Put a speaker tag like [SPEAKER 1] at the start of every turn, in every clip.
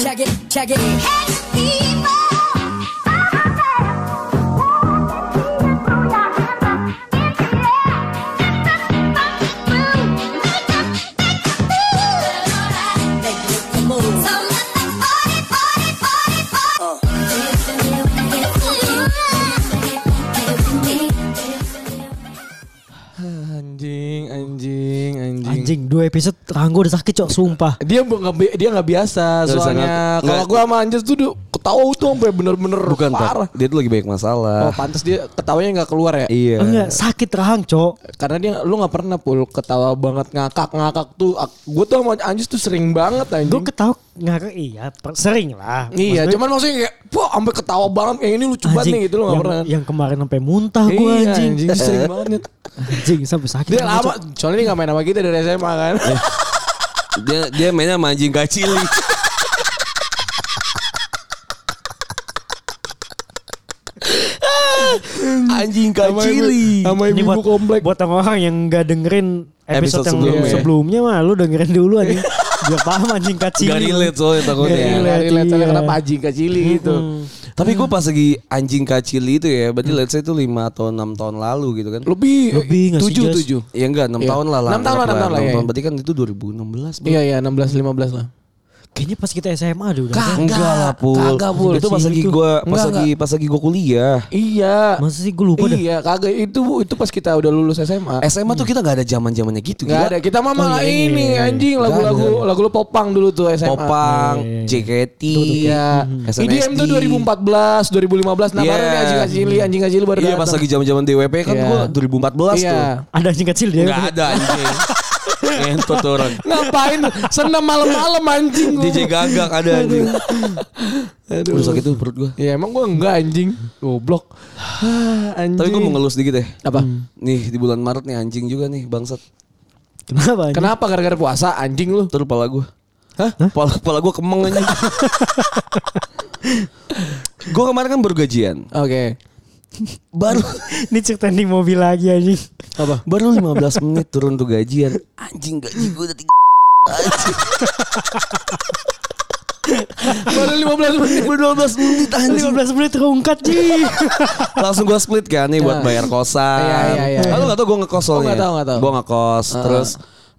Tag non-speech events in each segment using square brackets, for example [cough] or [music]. [SPEAKER 1] Shaggy. Make you look move.
[SPEAKER 2] Anjing, anjing, anjing.
[SPEAKER 3] Anjing dua episode tangan gue udah sakit cok sumpah.
[SPEAKER 2] Dia bu- nggak bi- dia nggak biasa
[SPEAKER 4] Nggak bisa
[SPEAKER 2] soalnya.
[SPEAKER 4] ngaku-
[SPEAKER 2] Kalau
[SPEAKER 4] nggak-
[SPEAKER 2] gua sama Anjas tuh du- ketawa tuh sampai bener-bener
[SPEAKER 4] Bukan
[SPEAKER 2] parah.
[SPEAKER 4] Tat. Kan, Dia tuh lagi banyak
[SPEAKER 2] Oh,
[SPEAKER 3] Ah.
[SPEAKER 4] masalah.
[SPEAKER 2] pantas dia ketawanya nggak keluar ya?
[SPEAKER 4] Iya.
[SPEAKER 3] Enggak sakit rahang cok.
[SPEAKER 2] Karena dia lu nggak pernah pul ketawa banget ngakak-ngakak tuh. Ak- Gua tuh sama Anjas tuh sering banget
[SPEAKER 3] Gue
[SPEAKER 2] anjing.
[SPEAKER 3] ketawa ngakak iya per- sering lah.
[SPEAKER 2] Iya,
[SPEAKER 3] Maksudnya,
[SPEAKER 2] cuman maksudnya kayak, wah sampai ketawa banget kayak ini lucu banget
[SPEAKER 3] anjing,
[SPEAKER 2] nih gitu lu nggak
[SPEAKER 3] yang,
[SPEAKER 2] pernah.
[SPEAKER 3] Yang kemarin sampai muntah gue
[SPEAKER 2] Iya,
[SPEAKER 3] anjing.
[SPEAKER 2] anjing
[SPEAKER 3] [laughs]
[SPEAKER 2] sering banget. Nyet.
[SPEAKER 3] Anjing Ya. sampai sakit.
[SPEAKER 2] Dia
[SPEAKER 3] rahang,
[SPEAKER 2] lama,
[SPEAKER 3] Cok.
[SPEAKER 2] soalnya dia gak main sama kita dari SMA kan. [laughs]
[SPEAKER 4] Dia dia mainnya sama anjing kacili. Ah, anjing
[SPEAKER 2] Sama ibu-
[SPEAKER 4] kacili.
[SPEAKER 2] Sama
[SPEAKER 3] Ini
[SPEAKER 2] ibu
[SPEAKER 3] buat
[SPEAKER 2] komplek. ya.
[SPEAKER 3] buat orang yang nggak dengerin episode,
[SPEAKER 4] Episode
[SPEAKER 3] yang
[SPEAKER 4] sebelumnya.
[SPEAKER 3] sebelumnya. mah lu dengerin dulu
[SPEAKER 2] [laughs]
[SPEAKER 3] anjing. Biar paham anjing kacil.
[SPEAKER 4] Gak relate soalnya takutnya.
[SPEAKER 3] Nggak
[SPEAKER 2] Iya,
[SPEAKER 3] relate,
[SPEAKER 2] relate, soalnya
[SPEAKER 3] iya.
[SPEAKER 2] kenapa anjing kecili gitu.
[SPEAKER 4] Tapi gue pas lagi anjing kacili itu ya,
[SPEAKER 2] Hmm.
[SPEAKER 4] berarti let's say itu 5 atau 6 tahun lalu gitu kan.
[SPEAKER 2] Lebih,
[SPEAKER 3] Lebih nggak sih,
[SPEAKER 2] tujuh,
[SPEAKER 3] Jas?
[SPEAKER 2] tujuh.
[SPEAKER 4] Ya enggak, 6
[SPEAKER 2] Iya.
[SPEAKER 4] tahun lah.
[SPEAKER 2] Enam tahun lah, enam tahun lah,
[SPEAKER 4] Enam
[SPEAKER 2] iya, iya.
[SPEAKER 4] Berarti kan itu 2016. Bro.
[SPEAKER 2] Iya, iya, 16, 15 lah.
[SPEAKER 3] Kayaknya pas kita SMA deh udah.
[SPEAKER 2] Kagak,
[SPEAKER 4] Enggak lah, Pul.
[SPEAKER 2] kagak, Pul.
[SPEAKER 4] Itu pas
[SPEAKER 3] Kacili
[SPEAKER 4] lagi
[SPEAKER 3] tuh.
[SPEAKER 4] gua pas
[SPEAKER 2] Enggak,
[SPEAKER 4] lagi pas lagi gua kuliah.
[SPEAKER 2] Iya.
[SPEAKER 3] Masa sih gue lupa dah.
[SPEAKER 2] Iya, kagak itu itu pas kita udah lulus SMA.
[SPEAKER 4] SMA tuh kita gak ada zaman-zamannya gitu
[SPEAKER 2] Gak
[SPEAKER 4] gila.
[SPEAKER 2] ada. Kita mah malah
[SPEAKER 3] iya,
[SPEAKER 2] ini
[SPEAKER 3] iya.
[SPEAKER 2] anjing
[SPEAKER 4] Nggak
[SPEAKER 2] lagu-lagu lagu lu popang dulu tuh SMA.
[SPEAKER 4] Popang,
[SPEAKER 3] Iya,
[SPEAKER 4] Hmm,
[SPEAKER 3] iya, iya.
[SPEAKER 4] JKT,
[SPEAKER 2] Iya.
[SPEAKER 4] SNSD.
[SPEAKER 2] IDM tuh 2014, 2015. Nah, baru
[SPEAKER 4] Iya.
[SPEAKER 2] nih anjing kecili, anjing kecili baru
[SPEAKER 4] Iya pas
[SPEAKER 2] datang.
[SPEAKER 4] lagi zaman-zaman DWP kan
[SPEAKER 2] Iya.
[SPEAKER 4] gua 2014
[SPEAKER 2] Iya.
[SPEAKER 4] tuh.
[SPEAKER 3] Ada anjing kecil dia.
[SPEAKER 4] Enggak ada
[SPEAKER 2] [laughs]
[SPEAKER 4] anjing. Ngentot tuh orang.
[SPEAKER 2] Ngapain senam malam-malam
[SPEAKER 4] [laughs]
[SPEAKER 2] anjing gua.
[SPEAKER 4] DJ gagak ada anjing.
[SPEAKER 2] Aduh.
[SPEAKER 4] Aduh sakit tuh perut gua.
[SPEAKER 2] Ya emang gua enggak anjing. Goblok. Hah, anjing.
[SPEAKER 4] Tapi gua mau ngelus dikit ya.
[SPEAKER 2] apa?
[SPEAKER 4] Nih di bulan Maret nih anjing juga nih bangsat.
[SPEAKER 3] Kenapa anjing?
[SPEAKER 2] Kenapa gara-gara puasa anjing lu?
[SPEAKER 4] Terus pala gua. Hah? Pala, pala gua kemeng anjing.
[SPEAKER 2] [laughs]
[SPEAKER 4] gua kemarin kan baru gajian.
[SPEAKER 2] Oke.
[SPEAKER 4] Baru
[SPEAKER 3] Ini cerita di mobil lagi anjing.
[SPEAKER 2] Apa?
[SPEAKER 4] baru 15 menit turun tuh gajian. Anjing gaji gua udah tiga.
[SPEAKER 2] Baru 15 menit.
[SPEAKER 4] Baru 12 menit anjing.
[SPEAKER 3] 15 menit terungkat
[SPEAKER 4] [laughs]
[SPEAKER 3] Ji.
[SPEAKER 4] langsung gue split kan nih
[SPEAKER 2] Nah.
[SPEAKER 4] buat bayar kosan.
[SPEAKER 2] Iya, iya, iya.
[SPEAKER 4] Lalu gak tau gue ngekos
[SPEAKER 2] Oh,
[SPEAKER 4] soalnya.
[SPEAKER 2] nggak tahu, nggak tahu.
[SPEAKER 4] Gue ngekos terus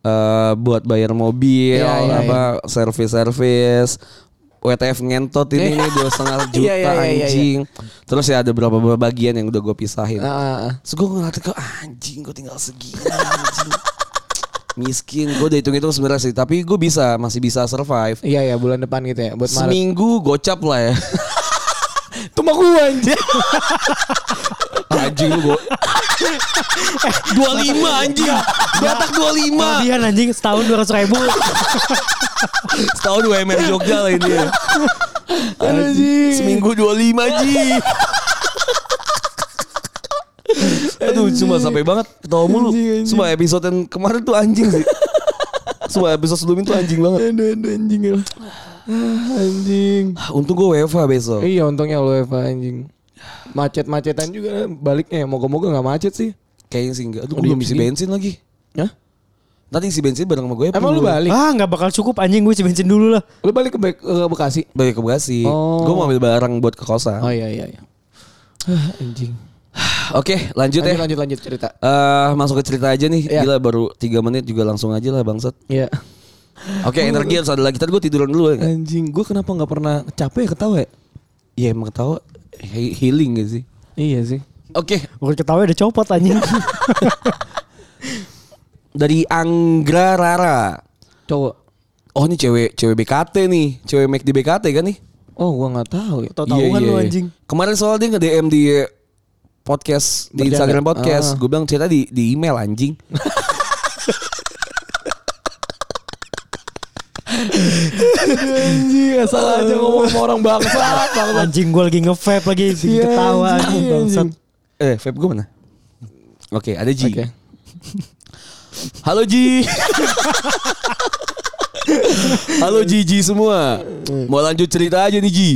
[SPEAKER 4] eh, buat bayar mobil,
[SPEAKER 2] Iya, iya,
[SPEAKER 4] apa servis-servis. WTF ngentot ini nih dua setengah juta
[SPEAKER 2] [laughs] Iya, iya, iya, iya, iya.
[SPEAKER 4] anjing. Terus ya ada beberapa bagian yang udah gue
[SPEAKER 2] Ah,
[SPEAKER 4] pisahin.
[SPEAKER 2] ah, ah.
[SPEAKER 4] Terus gue ngeliatin ke anjing gue tinggal segini anjing. Miskin gue udah hitung-hitung sebenarnya sih Tapi gue bisa masih bisa survive
[SPEAKER 2] Iya ya bulan depan gitu ya buat Maret.
[SPEAKER 4] Seminggu gocap lah ya
[SPEAKER 2] Itu mah gua anjing.
[SPEAKER 4] Anjing lu gue
[SPEAKER 2] Eh,
[SPEAKER 4] 25 anjing Batak 25
[SPEAKER 3] Kelebihan anjing setahun 200 ribu.
[SPEAKER 4] Setahun UMR Jogja lah ini.
[SPEAKER 2] [laughs]
[SPEAKER 4] ya.
[SPEAKER 2] Anjing.
[SPEAKER 4] Seminggu 25 Ji. Aduh cuma sampai banget ketawa mulu.
[SPEAKER 2] Anjing, anjing.
[SPEAKER 4] Semua episode yang kemarin tuh anjing sih. Semua episode sebelum itu anjing banget.
[SPEAKER 2] Aduh, aduh anjing lu. Ah, Anjing.
[SPEAKER 4] Ah, Untung gue WFH besok.
[SPEAKER 2] Iya untungnya lu Eva anjing. Macet-macetan juga baliknya. ya, Moga-moga nggak macet sih.
[SPEAKER 4] Kayaknya sih enggak. Aduh
[SPEAKER 2] Oh,
[SPEAKER 4] gue belum
[SPEAKER 2] iya,
[SPEAKER 4] isi
[SPEAKER 2] sih.
[SPEAKER 4] bensin lagi.
[SPEAKER 2] Hah?
[SPEAKER 4] Nanti isi bensin bareng sama ya, gue.
[SPEAKER 2] Emang lu balik?
[SPEAKER 3] ah nggak bakal cukup anjing gue isi bensin dulu lah.
[SPEAKER 2] Lu balik ke, Be- ke Bekasi?
[SPEAKER 4] Balik ke Bekasi.
[SPEAKER 2] Oh.
[SPEAKER 4] Gue mau ambil barang buat ke kosan.
[SPEAKER 2] Oh iya iya iya. Ah, anjing.
[SPEAKER 4] Oke
[SPEAKER 2] Lanjut
[SPEAKER 4] lanjut, ya.
[SPEAKER 2] lanjut lanjut cerita.
[SPEAKER 4] Eh, masuk ke cerita aja nih.
[SPEAKER 2] Iya.
[SPEAKER 4] Gila baru 3 menit juga langsung aja lah bangsat.
[SPEAKER 2] Iya.
[SPEAKER 4] Oke, energi harus ada lagi. Tadi gue tiduran dulu ya. nggak?
[SPEAKER 2] Anjing, gua kenapa nggak pernah capek ya ketawa ya?
[SPEAKER 4] Iya emang ketawa he- healing gak sih?
[SPEAKER 2] Iya sih.
[SPEAKER 4] Oke,
[SPEAKER 3] Urut ketawa udah copot
[SPEAKER 4] [laughs]
[SPEAKER 3] anjing.
[SPEAKER 4] dari Anggra Rara.
[SPEAKER 2] Cowok.
[SPEAKER 4] Oh ini cewek cewek BKT nih, cewek make di BKT kan nih?
[SPEAKER 2] Oh, gua nggak tahu ya.
[SPEAKER 3] Tahu-tahuan
[SPEAKER 4] Iya, iya,
[SPEAKER 3] lu
[SPEAKER 4] iya.
[SPEAKER 3] anjing.
[SPEAKER 4] Kemarin soal dia nge DM di podcast di
[SPEAKER 2] Bercanda.
[SPEAKER 4] Instagram podcast,
[SPEAKER 2] Ah.
[SPEAKER 4] gue bilang cerita di di email anjing.
[SPEAKER 2] Anjing, asal Iya, [laughs] aja ngomong sama orang bangsa.
[SPEAKER 3] anjing gue lagi nge-vape lagi bikin
[SPEAKER 2] Iya,
[SPEAKER 3] ketawa anjing
[SPEAKER 2] anjing,
[SPEAKER 3] bangsat.
[SPEAKER 2] anjing.
[SPEAKER 4] Eh, vape gue mana? Oke, ada Ji.
[SPEAKER 2] Oke.
[SPEAKER 4] [laughs] Halo Ji. Halo Ji Ji semua. Mau lanjut cerita aja nih Ji.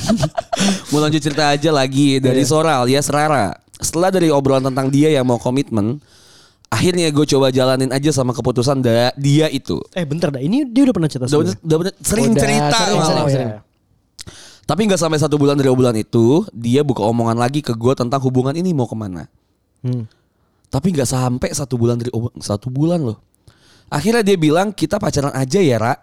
[SPEAKER 4] [laughs] Mau lanjut cerita aja lagi
[SPEAKER 2] Iya.
[SPEAKER 4] dari Soral ya Serara. Setelah dari obrolan tentang dia yang mau komitmen, akhirnya gue coba jalanin aja sama keputusan da- dia itu.
[SPEAKER 3] Eh bentar dah ini dia udah pernah cerita
[SPEAKER 4] Udah,
[SPEAKER 3] sebelumnya. Oh, iya.
[SPEAKER 4] udah- udah- sering
[SPEAKER 2] Udah,
[SPEAKER 4] cerita
[SPEAKER 2] sering,
[SPEAKER 4] malah.
[SPEAKER 2] sering, sering.
[SPEAKER 4] Tapi nggak sampai satu bulan dari obrolan itu, dia buka omongan lagi ke gue tentang hubungan ini mau kemana.
[SPEAKER 3] Hmm.
[SPEAKER 4] Tapi nggak sampai satu bulan dari ob- satu bulan loh. Akhirnya dia bilang kita pacaran aja ya Ra.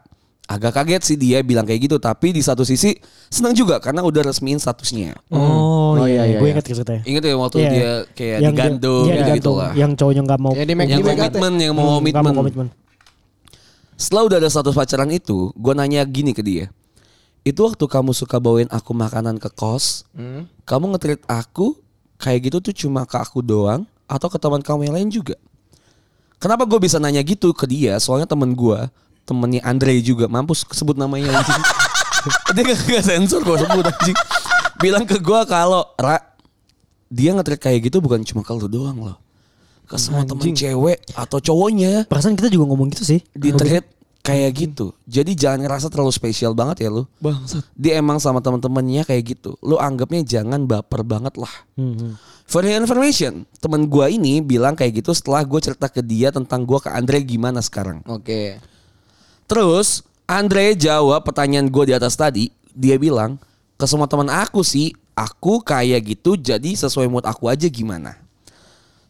[SPEAKER 4] Agak kaget sih dia bilang kayak gitu. Tapi di satu sisi senang juga karena udah resmiin statusnya.
[SPEAKER 3] Oh,
[SPEAKER 2] Oh, iya, iya,
[SPEAKER 3] iya, gue
[SPEAKER 2] iya.
[SPEAKER 3] ingat ceritanya.
[SPEAKER 4] Ingat ya waktu
[SPEAKER 3] Iya.
[SPEAKER 4] dia kayak
[SPEAKER 3] Yang dia-
[SPEAKER 4] digantung
[SPEAKER 3] iya,
[SPEAKER 4] gitu
[SPEAKER 3] digantung.
[SPEAKER 4] lah. Iya,
[SPEAKER 3] Yang cowoknya nggak mau.
[SPEAKER 2] Ya, di make-
[SPEAKER 4] Yang
[SPEAKER 2] di make up.
[SPEAKER 4] komitmen, yang
[SPEAKER 3] Hmm,
[SPEAKER 4] mau
[SPEAKER 3] nggak
[SPEAKER 4] komitmen.
[SPEAKER 3] komitmen.
[SPEAKER 4] Setelah udah ada status pacaran itu, gue nanya gini ke dia. Itu waktu kamu suka bawain aku makanan ke kos, kamu nge-treat aku kayak gitu tuh cuma ke aku doang atau ke teman kamu yang lain juga? Kenapa gue bisa nanya gitu ke dia? Soalnya temen gue, temennya Andre juga, mampus sebut namanya anjing. dia gak, gak sensor gue sebut anjing. Bilang ke gue kalau, Ra, dia nge-treat kayak gitu bukan cuma ke lu doang loh. Ke semua temen cewek atau cowoknya
[SPEAKER 3] Perasaan kita juga ngomong gitu sih.
[SPEAKER 4] di
[SPEAKER 3] [laughs]
[SPEAKER 4] thread kayak gitu. Jadi jangan ngerasa terlalu spesial banget ya lu.
[SPEAKER 2] Bangsat.
[SPEAKER 4] Dia emang sama teman-temannya kayak gitu. Lu anggapnya jangan baper banget lah. For your information, teman gua ini bilang kayak gitu setelah gue cerita ke dia tentang gua ke Andre gimana sekarang.
[SPEAKER 2] Oke.
[SPEAKER 4] Terus Andre jawab pertanyaan gue di atas tadi. Dia bilang ke semua teman aku sih, aku kayak gitu jadi sesuai mood aku aja gimana.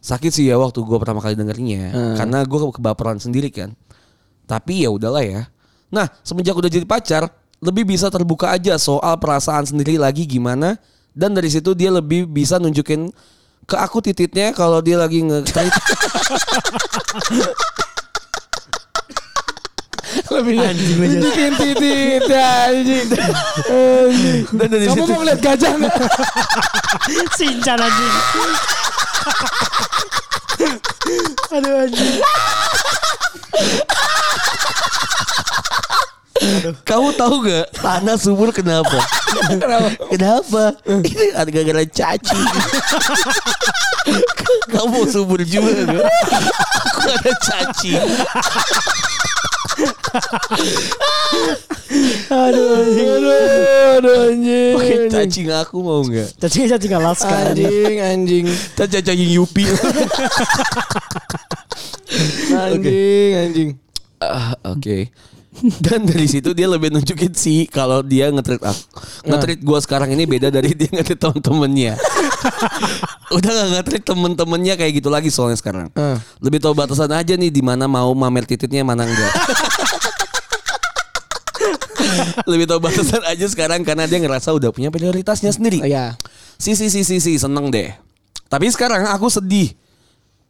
[SPEAKER 4] Sakit sih ya waktu gue pertama kali dengernya,
[SPEAKER 2] Hmm.
[SPEAKER 4] karena gue kebaperan sendiri kan. Tapi ya udahlah ya. Nah semenjak udah jadi pacar, lebih bisa terbuka aja soal perasaan sendiri lagi gimana. Dan dari situ dia lebih bisa nunjukin ke aku titiknya kalau dia lagi nge
[SPEAKER 2] [laughs] Lebih
[SPEAKER 3] Anjing aja.
[SPEAKER 2] Tunjukin titit anjing. Anjing.
[SPEAKER 4] dan dari
[SPEAKER 2] Kamu
[SPEAKER 4] situ
[SPEAKER 2] mau ngeliat gajah nggak?
[SPEAKER 3] Sincan
[SPEAKER 4] [laughs]
[SPEAKER 3] anjing. Aduh anjing.
[SPEAKER 4] kamu tahu gak tanah subur [laughs] kenapa?
[SPEAKER 2] Kenapa?
[SPEAKER 4] Kenapa? Ini ada gara-gara caci. Kamu mau subur juga gak? Aku ada caci.
[SPEAKER 3] Aduh anjing.
[SPEAKER 2] Aduh, aduh anjing.
[SPEAKER 4] Pakai
[SPEAKER 2] anjing.
[SPEAKER 4] cacing aku mau gak?
[SPEAKER 3] Cacing cacing Alaska. anjing.
[SPEAKER 2] Anjing, anjing,
[SPEAKER 4] Cacing cacing Yupi.
[SPEAKER 2] anjing, anjing.
[SPEAKER 4] Ah, Oke. Dan dari situ dia lebih nunjukin sih kalau dia ngetrit aku. Ngetrit gua sekarang ini beda dari [laughs] dia ngetrit temen-temennya. Udah gak ngetrit temen-temennya kayak gitu lagi soalnya sekarang.
[SPEAKER 2] Eh.
[SPEAKER 4] Lebih tahu batasan aja nih di mana mau mamer titiknya mana enggak. Lebih tahu batasan aja sekarang karena dia ngerasa udah punya prioritasnya sendiri.
[SPEAKER 2] Iya.
[SPEAKER 4] Si si si si si seneng deh. Tapi sekarang aku sedih.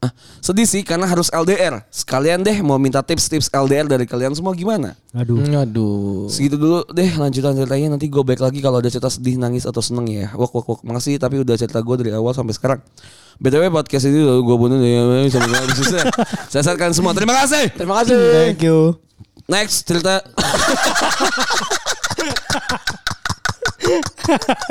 [SPEAKER 4] Ah, sedih sih karena harus LDR. Sekalian deh mau minta tips-tips LDR dari kalian semua gimana?
[SPEAKER 3] Aduh.
[SPEAKER 2] Aduh.
[SPEAKER 4] Segitu dulu deh lanjutan ceritanya nanti gue back lagi kalau ada cerita sedih, nangis atau seneng ya. Wak wak wak makasih tapi udah cerita gue dari awal sampai sekarang. BTW podcast ini gue bunuh ya sampai habis selesai. Saya sarankan semua. Terima kasih.
[SPEAKER 2] Terima kasih.
[SPEAKER 3] Thank you.
[SPEAKER 4] Next cerita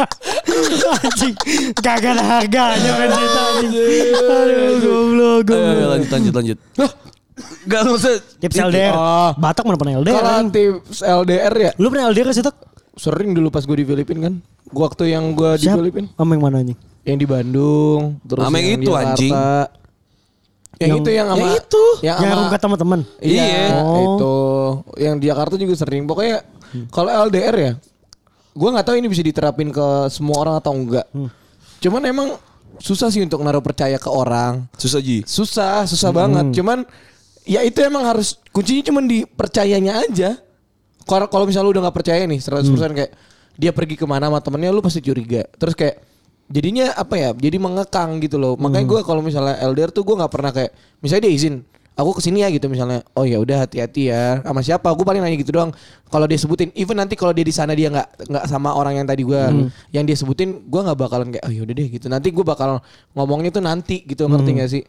[SPEAKER 3] Anjing. Kagak ada harganya men cerita anjing. Aduh goblok
[SPEAKER 4] Eh,
[SPEAKER 3] goblok.
[SPEAKER 4] lanjut lanjut lanjut. Gak maksud
[SPEAKER 3] Tips LDR.
[SPEAKER 2] Oh.
[SPEAKER 3] Batak mana pernah LDR?
[SPEAKER 2] Kalau
[SPEAKER 3] anjing?
[SPEAKER 2] tips LDR ya
[SPEAKER 3] Lu pernah LDR sih tak?
[SPEAKER 2] sering dulu pas gue di Filipina kan. Gua waktu yang gue di
[SPEAKER 3] Siap.
[SPEAKER 2] Filipina,
[SPEAKER 3] Sama yang mana anjing?
[SPEAKER 2] yang di Bandung, terus
[SPEAKER 4] Sama yang
[SPEAKER 2] di
[SPEAKER 4] itu,
[SPEAKER 2] Jakarta.
[SPEAKER 4] anjing.
[SPEAKER 2] Yang,
[SPEAKER 3] Yang-
[SPEAKER 2] itu yang sama
[SPEAKER 4] yang itu.
[SPEAKER 2] Yang
[SPEAKER 3] Ya, Yang
[SPEAKER 2] sama
[SPEAKER 3] rumput sama teman.
[SPEAKER 2] Iya,
[SPEAKER 4] Iya.
[SPEAKER 3] Oh.
[SPEAKER 2] itu. Yang di Jakarta juga sering. Pokoknya kalau LDR ya, gue nggak tahu ini bisa diterapin ke semua orang atau enggak. Cuman emang susah sih untuk naruh percaya ke orang.
[SPEAKER 4] susah Ji.
[SPEAKER 2] Susah, susah banget. Cuman ya itu emang harus kuncinya cuman di percayanya aja. Kalau kalau misalnya lu udah nggak percaya nih 100% kayak dia pergi kemana sama temennya lu pasti curiga. Terus kayak jadinya apa ya? Jadi mengekang gitu loh. Makanya gue kalau misalnya LDR tuh gue nggak pernah kayak misalnya dia izin aku kesini ya gitu misalnya oh ya udah hati-hati ya sama siapa gue paling nanya gitu doang kalau dia sebutin even nanti kalau dia di sana dia nggak nggak sama orang yang tadi gue
[SPEAKER 3] Hmm.
[SPEAKER 2] yang dia sebutin gue nggak bakalan kayak oh ya udah deh gitu nanti gue bakal ngomongnya tuh nanti gitu
[SPEAKER 3] Hmm.
[SPEAKER 2] ngerti nggak sih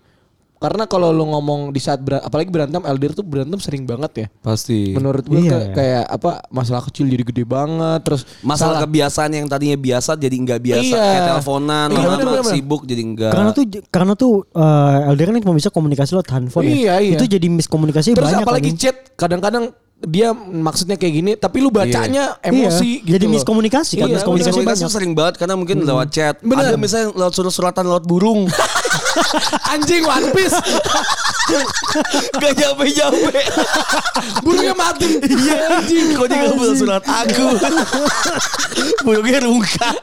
[SPEAKER 2] karena kalau lu ngomong di saat beran- apalagi berantem LDR tuh berantem sering banget ya.
[SPEAKER 4] Pasti.
[SPEAKER 2] Menurut gue
[SPEAKER 3] Iya,
[SPEAKER 2] kayak,
[SPEAKER 3] ya.
[SPEAKER 2] kayak apa masalah kecil jadi gede banget terus
[SPEAKER 4] Masalah
[SPEAKER 2] salah-
[SPEAKER 4] kebiasaan yang tadinya biasa jadi nggak biasa
[SPEAKER 2] Iya.
[SPEAKER 4] kayak teleponan
[SPEAKER 2] Iya,
[SPEAKER 4] lama-lama
[SPEAKER 2] bener-bener.
[SPEAKER 4] sibuk jadi enggak.
[SPEAKER 3] Karena tuh karena tuh eh, LDR kan cuma bisa komunikasi lewat handphone
[SPEAKER 2] Iya,
[SPEAKER 3] ya.
[SPEAKER 2] iya.
[SPEAKER 3] Itu jadi miskomunikasi
[SPEAKER 2] terus
[SPEAKER 3] banyak
[SPEAKER 2] apalagi
[SPEAKER 3] anjing.
[SPEAKER 2] chat kadang-kadang dia maksudnya kayak gini tapi lu bacanya emosi
[SPEAKER 3] Iya,
[SPEAKER 2] gitu
[SPEAKER 3] jadi
[SPEAKER 2] loh.
[SPEAKER 3] miskomunikasi kan,
[SPEAKER 2] Iya,
[SPEAKER 3] miskomunikasi
[SPEAKER 2] bener.
[SPEAKER 4] Komunikasi sering banget karena mungkin lewat chat.
[SPEAKER 2] Hmm. Bener.
[SPEAKER 4] Ada misalnya lewat surat-suratan lewat burung.
[SPEAKER 2] [laughs] anjing one
[SPEAKER 4] [laughs]
[SPEAKER 2] piece
[SPEAKER 4] Gak nyampe-nyampe.
[SPEAKER 2] [laughs] burungnya mati
[SPEAKER 4] Iya anjing. Kok dia gak punya surat aku. [laughs] Burungnya rungkat.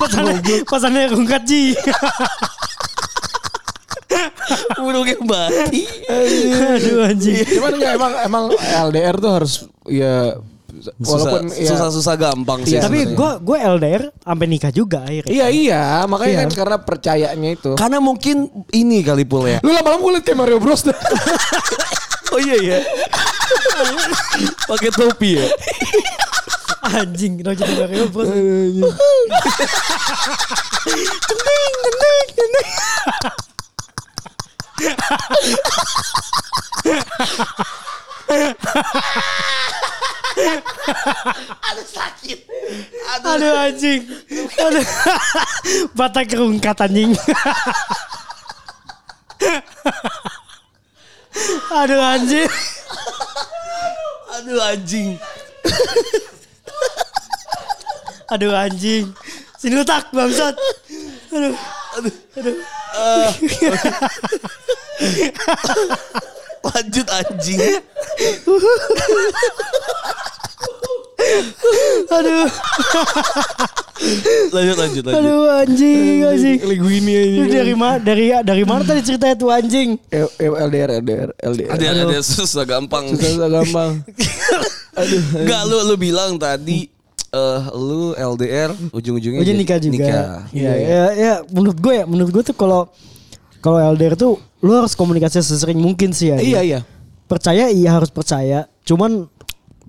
[SPEAKER 3] Pesannya, pesannya rungkat Ji. [laughs]
[SPEAKER 4] Burungnya mati.
[SPEAKER 3] Aduh anjing.
[SPEAKER 2] cuman enggak emang emang LDR tuh harus ya
[SPEAKER 4] Susah,
[SPEAKER 2] walaupun ya,
[SPEAKER 4] susah-susah gampang sih.
[SPEAKER 2] Iya,
[SPEAKER 3] Tapi
[SPEAKER 4] sebenarnya.
[SPEAKER 3] gue gue LDR sampai nikah juga akhirnya.
[SPEAKER 2] iya iya makanya
[SPEAKER 3] Iya.
[SPEAKER 2] kan karena percayanya itu
[SPEAKER 4] Karena mungkin ini kali pul ya.
[SPEAKER 2] lu lama-lama kulit kayak Mario Bros dah
[SPEAKER 4] Oh iya ya. Pakai topi ya.
[SPEAKER 3] Anjing, Roger Mario Bros. Aduh anjing. Aduh. Batak rungkat anjing. Aduh anjing.
[SPEAKER 4] Aduh anjing.
[SPEAKER 3] Aduh anjing. Sini letak bangsat. Aduh.
[SPEAKER 4] Lanjut anjing.
[SPEAKER 3] Aduh.
[SPEAKER 4] Lanjut lanjut lanjut.
[SPEAKER 3] Aduh anjing anjing.
[SPEAKER 2] linguini aja
[SPEAKER 3] Lu dari mana dari dari mana tadi ceritanya tuh anjing?
[SPEAKER 2] Eh, eh, LDR LDR LDR
[SPEAKER 4] Ada ada susah gampang.
[SPEAKER 2] susah gampang
[SPEAKER 4] Enggak lu lu bilang tadi eh lu LDR ujung-ujungnya
[SPEAKER 3] Ujung
[SPEAKER 4] jadi
[SPEAKER 3] nikah juga.
[SPEAKER 4] Iya.
[SPEAKER 3] Iya, ya, ya, menurut gue ya, menurut gue tuh kalau kalau LDR tuh lu harus komunikasi sesering mungkin sih ya.
[SPEAKER 2] iya iya
[SPEAKER 3] Percaya iya harus percaya. Cuman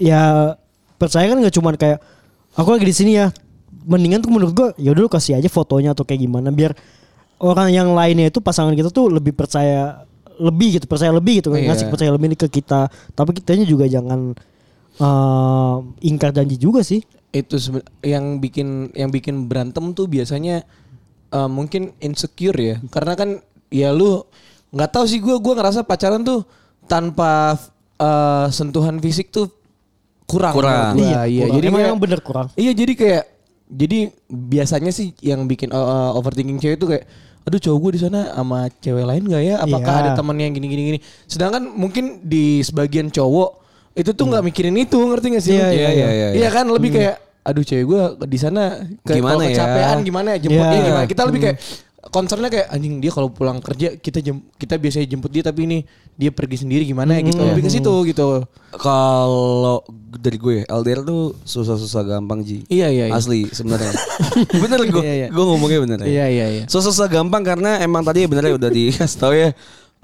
[SPEAKER 3] ya percaya kan nggak cuman kayak aku lagi di sini ya. Mendingan tuh menurut gue ya dulu kasih aja fotonya atau kayak gimana biar orang yang lainnya itu pasangan kita tuh lebih percaya lebih gitu percaya lebih gitu kan
[SPEAKER 2] Iya.
[SPEAKER 3] ngasih percaya lebih ke kita tapi kitanya juga jangan eh, ingkar janji juga sih
[SPEAKER 2] itu seben- yang bikin yang bikin berantem tuh biasanya eh, mungkin insecure ya karena kan ya lu nggak tahu sih gua gua ngerasa pacaran tuh tanpa eh, sentuhan fisik tuh kurang
[SPEAKER 4] Kurang.
[SPEAKER 2] menurut gua. iya
[SPEAKER 3] kurang.
[SPEAKER 2] jadi
[SPEAKER 3] emang,
[SPEAKER 2] kayak-
[SPEAKER 3] emang bener kurang
[SPEAKER 2] iya jadi kayak jadi biasanya sih yang bikin eh, eh, overthinking cewek itu kayak aduh cowok gue di sana sama cewek lain gak ya apakah
[SPEAKER 3] Iya.
[SPEAKER 2] ada temannya yang gini gini gini sedangkan mungkin di sebagian cowok itu tuh nggak mikirin itu ngerti gak sih lu?
[SPEAKER 3] Iya, iya,
[SPEAKER 4] iya, iya.
[SPEAKER 2] Iya kan lebih kayak aduh cewek gue di sana ke,
[SPEAKER 4] Gimana
[SPEAKER 2] kalau
[SPEAKER 4] ya?
[SPEAKER 2] kecapean gimana ya jemputnya
[SPEAKER 3] Iya.
[SPEAKER 2] gimana kita lebih kayak concernnya kayak anjing dia kalau pulang kerja kita jem, kita biasanya jemput dia tapi ini dia pergi sendiri gimana ya gitu lebih ke situ gitu
[SPEAKER 4] Kalau dari gue LDR tuh susah-susah gampang Ji.
[SPEAKER 2] Iya, iya, iya.
[SPEAKER 4] Asli sebenarnya. bener gue.
[SPEAKER 2] Iya, iya.
[SPEAKER 4] Gue ngomongnya bener ya.
[SPEAKER 2] Iya, iya, iya.
[SPEAKER 4] Susah-susah gampang karena emang tadi bener ya udah dikasih tau ya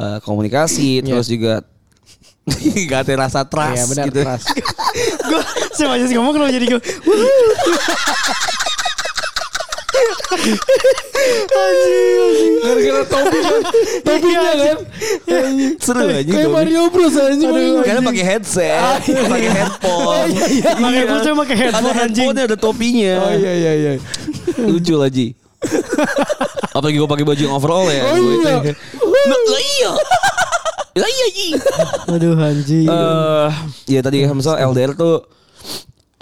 [SPEAKER 4] eh, komunikasi terus juga [laughs] gak ada rasa trust
[SPEAKER 2] Iya, benar,
[SPEAKER 4] gitu.
[SPEAKER 2] trust.
[SPEAKER 3] gue sama aja sih ngomong kenapa jadi gue
[SPEAKER 2] Gara-gara topi kan.
[SPEAKER 3] Iya,
[SPEAKER 2] Topinya kan.
[SPEAKER 4] Seru aja.
[SPEAKER 2] [laughs] Kayak Ah, Mario Bros anjing. Mario.
[SPEAKER 4] Karena pakai headset,
[SPEAKER 2] iya,
[SPEAKER 4] pakai headphone.
[SPEAKER 3] Pakai headphone, Iya. pakai headphone,
[SPEAKER 4] Ada
[SPEAKER 3] anjing.
[SPEAKER 4] headphone ada topinya.
[SPEAKER 2] Oh iya iya iya.
[SPEAKER 4] Lucu lah Ji. Apalagi gue pakai baju yang overall ya.
[SPEAKER 2] Oh,
[SPEAKER 4] Gua-
[SPEAKER 2] iya.
[SPEAKER 4] Lah, Lah iya. Lah iya Ji.
[SPEAKER 3] aduh anjing
[SPEAKER 4] Eh, ya tadi
[SPEAKER 3] Hmm.
[SPEAKER 4] misalnya LDR tuh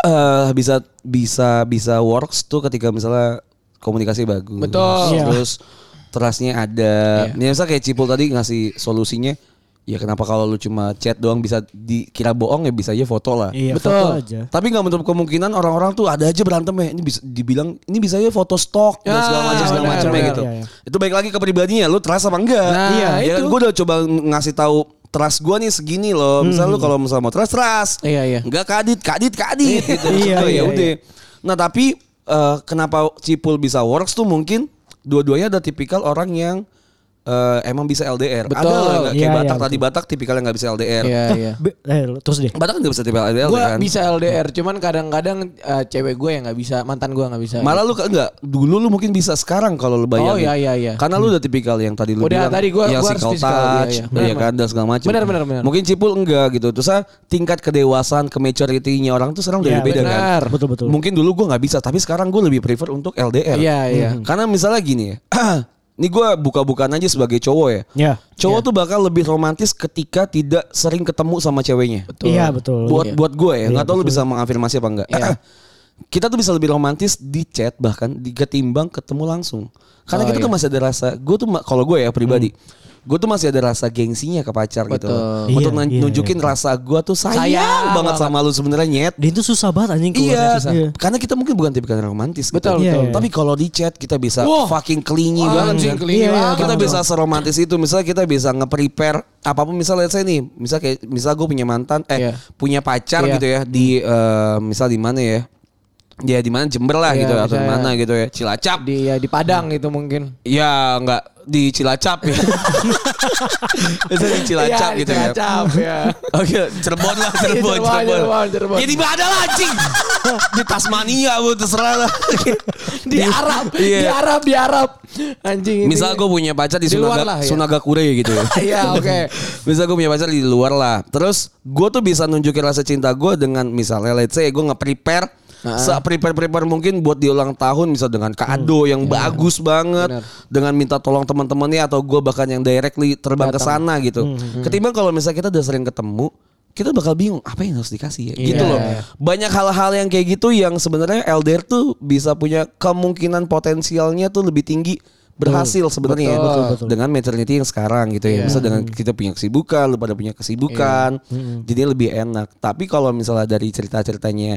[SPEAKER 4] eh bisa bisa bisa works tuh ketika misalnya komunikasi bagus.
[SPEAKER 2] Betul. Iya.
[SPEAKER 3] Iya.
[SPEAKER 4] Terus trustnya ada. Ya misalnya kayak Cipul tadi ngasih solusinya. Ya kenapa kalau lu cuma chat doang bisa dikira bohong ya bisa aja foto lah.
[SPEAKER 3] iya
[SPEAKER 2] betul.
[SPEAKER 3] foto aja
[SPEAKER 4] Tapi nggak menutup kemungkinan orang-orang tuh ada aja berantem ya. Ini bisa dibilang ini bisa aja foto stok dan
[SPEAKER 2] Ya,
[SPEAKER 4] segala macam segala
[SPEAKER 2] benar,
[SPEAKER 4] macam ya
[SPEAKER 2] benar.
[SPEAKER 4] gitu.
[SPEAKER 3] Iya, iya.
[SPEAKER 4] Itu baik lagi ke pribadinya, lu trust apa enggak?
[SPEAKER 2] Nah,
[SPEAKER 4] iya,
[SPEAKER 2] itu.
[SPEAKER 4] gue udah coba ngasih tahu trust gue nih segini loh. Misalnya lu kalau misalnya mau trust trust.
[SPEAKER 2] Iya, iya.
[SPEAKER 4] Enggak kadit, kadit, kadit gitu.
[SPEAKER 3] Hmm. Iya,
[SPEAKER 4] Maksud gua,
[SPEAKER 3] iya,
[SPEAKER 4] ya udah. Nah, tapi eh, kenapa Cipul bisa works tuh mungkin dua-duanya ada tipikal orang yang eh, emang bisa LDR.
[SPEAKER 2] Betul.
[SPEAKER 4] Ada lah nggak?
[SPEAKER 3] Iya, iya,
[SPEAKER 4] kayak Batak
[SPEAKER 3] betul.
[SPEAKER 4] tadi Batak tipikal yang nggak bisa LDR.
[SPEAKER 2] Iya iya.
[SPEAKER 3] Be- eh, lu- terus deh
[SPEAKER 4] Batak kan nggak bisa tipikal LDR
[SPEAKER 2] Gue
[SPEAKER 4] kan?
[SPEAKER 2] bisa LDR, cuman kadang-kadang eh, cewek gue yang nggak bisa, mantan gue nggak bisa.
[SPEAKER 4] Malah lu ke- enggak, dulu lu mungkin bisa sekarang kalau lu
[SPEAKER 2] Ya,
[SPEAKER 4] bayangin.
[SPEAKER 2] Oh, iya, iya, iya.
[SPEAKER 4] Karena lu udah tipikal yang tadi lu
[SPEAKER 2] Udah,
[SPEAKER 4] bilang.
[SPEAKER 2] Oh, tadi gua-
[SPEAKER 4] yang
[SPEAKER 2] gua harus
[SPEAKER 4] physical
[SPEAKER 2] physical, iya,
[SPEAKER 4] touch,
[SPEAKER 2] iya.
[SPEAKER 4] iya,
[SPEAKER 2] Benar,
[SPEAKER 4] kan dan segala macam.
[SPEAKER 2] Benar, benar, benar.
[SPEAKER 4] Mungkin Cipul enggak gitu. Terus ah, tingkat kedewasaan, kematurity-nya orang tuh sekarang udah
[SPEAKER 3] Iya,
[SPEAKER 4] beda kan.
[SPEAKER 2] benar.
[SPEAKER 3] betul betul
[SPEAKER 4] Mungkin dulu gua nggak bisa, tapi sekarang gua lebih prefer untuk LDR.
[SPEAKER 2] Iya, iya.
[SPEAKER 4] Karena misalnya Hmm. gini ya. [clears throat] Ini gue buka-bukaan aja sebagai cowok ya.
[SPEAKER 3] Iya.
[SPEAKER 4] Cowok tuh bakal lebih romantis ketika tidak sering ketemu sama ceweknya.
[SPEAKER 3] Iya betul. Iya.
[SPEAKER 4] Buat buat gue ya, nggak tahu lu bisa mengafirmasi apa enggak. [clears throat] kita tuh bisa lebih romantis di chat bahkan di- ketimbang ketemu langsung. Karena
[SPEAKER 2] Oh,
[SPEAKER 4] kita tuh
[SPEAKER 2] iya.
[SPEAKER 4] masih ada rasa, gue tuh ma- kalau gue ya pribadi, gue tuh masih ada rasa gengsinya ke pacar gitu.
[SPEAKER 2] Betul.
[SPEAKER 4] Untuk
[SPEAKER 3] Iya,
[SPEAKER 4] nan-
[SPEAKER 3] iya,
[SPEAKER 4] nunjukin rasa gue tuh sayang,
[SPEAKER 2] Sayang
[SPEAKER 4] banget sama lu sebenarnya nyet.
[SPEAKER 3] Dia itu susah banget anjing keluarnya
[SPEAKER 4] Iya,
[SPEAKER 3] susah.
[SPEAKER 4] karena kita mungkin bukan tipikal romantis gitu.
[SPEAKER 2] Betul,
[SPEAKER 3] Iya, betul. iya.
[SPEAKER 4] Tapi kalau di chat kita bisa
[SPEAKER 2] Wah.
[SPEAKER 4] fucking clingy banget
[SPEAKER 2] Anjing,
[SPEAKER 4] kan.
[SPEAKER 2] clingy
[SPEAKER 4] Iya,
[SPEAKER 2] banget.
[SPEAKER 4] Kita bisa seromantis itu. Misalnya kita bisa nge-prepare apapun misalnya let's say nih, misal kayak misal gue punya mantan eh
[SPEAKER 2] Iya.
[SPEAKER 4] punya pacar
[SPEAKER 2] Iya.
[SPEAKER 4] gitu ya di eh, misal di mana ya? Ya di mana Jember lah
[SPEAKER 2] Iya,
[SPEAKER 4] gitu atau di
[SPEAKER 2] misalnya.
[SPEAKER 4] mana gitu ya. Cilacap.
[SPEAKER 2] di ya, di Padang gitu mungkin.
[SPEAKER 4] Ya enggak di Cilacap
[SPEAKER 2] [laughs]
[SPEAKER 4] ya. Misalnya di Cilacap
[SPEAKER 2] Iya, di
[SPEAKER 4] gitu ya.
[SPEAKER 2] Cilacap
[SPEAKER 4] [laughs]
[SPEAKER 2] ya.
[SPEAKER 4] Oke, Cirebon
[SPEAKER 2] [laughs]
[SPEAKER 4] lah, Cirebon,
[SPEAKER 2] Cirebon, Cirebon, Cirebon.
[SPEAKER 4] Ya di mana lah
[SPEAKER 2] [laughs]
[SPEAKER 4] anjing? di Tasmania bu, terserah lah.
[SPEAKER 2] Di Arab,
[SPEAKER 4] Iya.
[SPEAKER 2] di Arab, di Arab. Anjing ini.
[SPEAKER 4] Misal gue punya pacar di,
[SPEAKER 2] Di
[SPEAKER 4] Sunaga,
[SPEAKER 2] luar lah, ya.
[SPEAKER 4] Sunaga Kure gitu ya.
[SPEAKER 2] [laughs] Iya, oke.
[SPEAKER 4] Misal gue punya pacar di luar lah. Terus gue tuh bisa nunjukin rasa cinta gue dengan misalnya let's say gue nge-prepare Se-prepare-prepare mungkin buat di ulang tahun misal dengan kado
[SPEAKER 2] Hmm.
[SPEAKER 4] yang
[SPEAKER 2] Iya,
[SPEAKER 4] bagus banget dengan minta tolong teman-temannya atau gue bahkan yang directly terbang ke sana gitu.
[SPEAKER 2] Hmm,
[SPEAKER 4] Ketimbang kalau misalnya kita udah sering ketemu, kita bakal bingung apa yang harus dikasih ya
[SPEAKER 2] Iya.
[SPEAKER 4] gitu loh. Banyak hal-hal yang kayak gitu yang sebenarnya LDR tuh bisa punya kemungkinan potensialnya tuh lebih tinggi berhasil sebenarnya
[SPEAKER 2] Betul, Iya.
[SPEAKER 4] dengan maternity yang sekarang gitu ya. Misalnya dengan kita punya kesibukan, lu pada punya kesibukan, jadi lebih enak. Tapi kalau misalnya dari cerita-ceritanya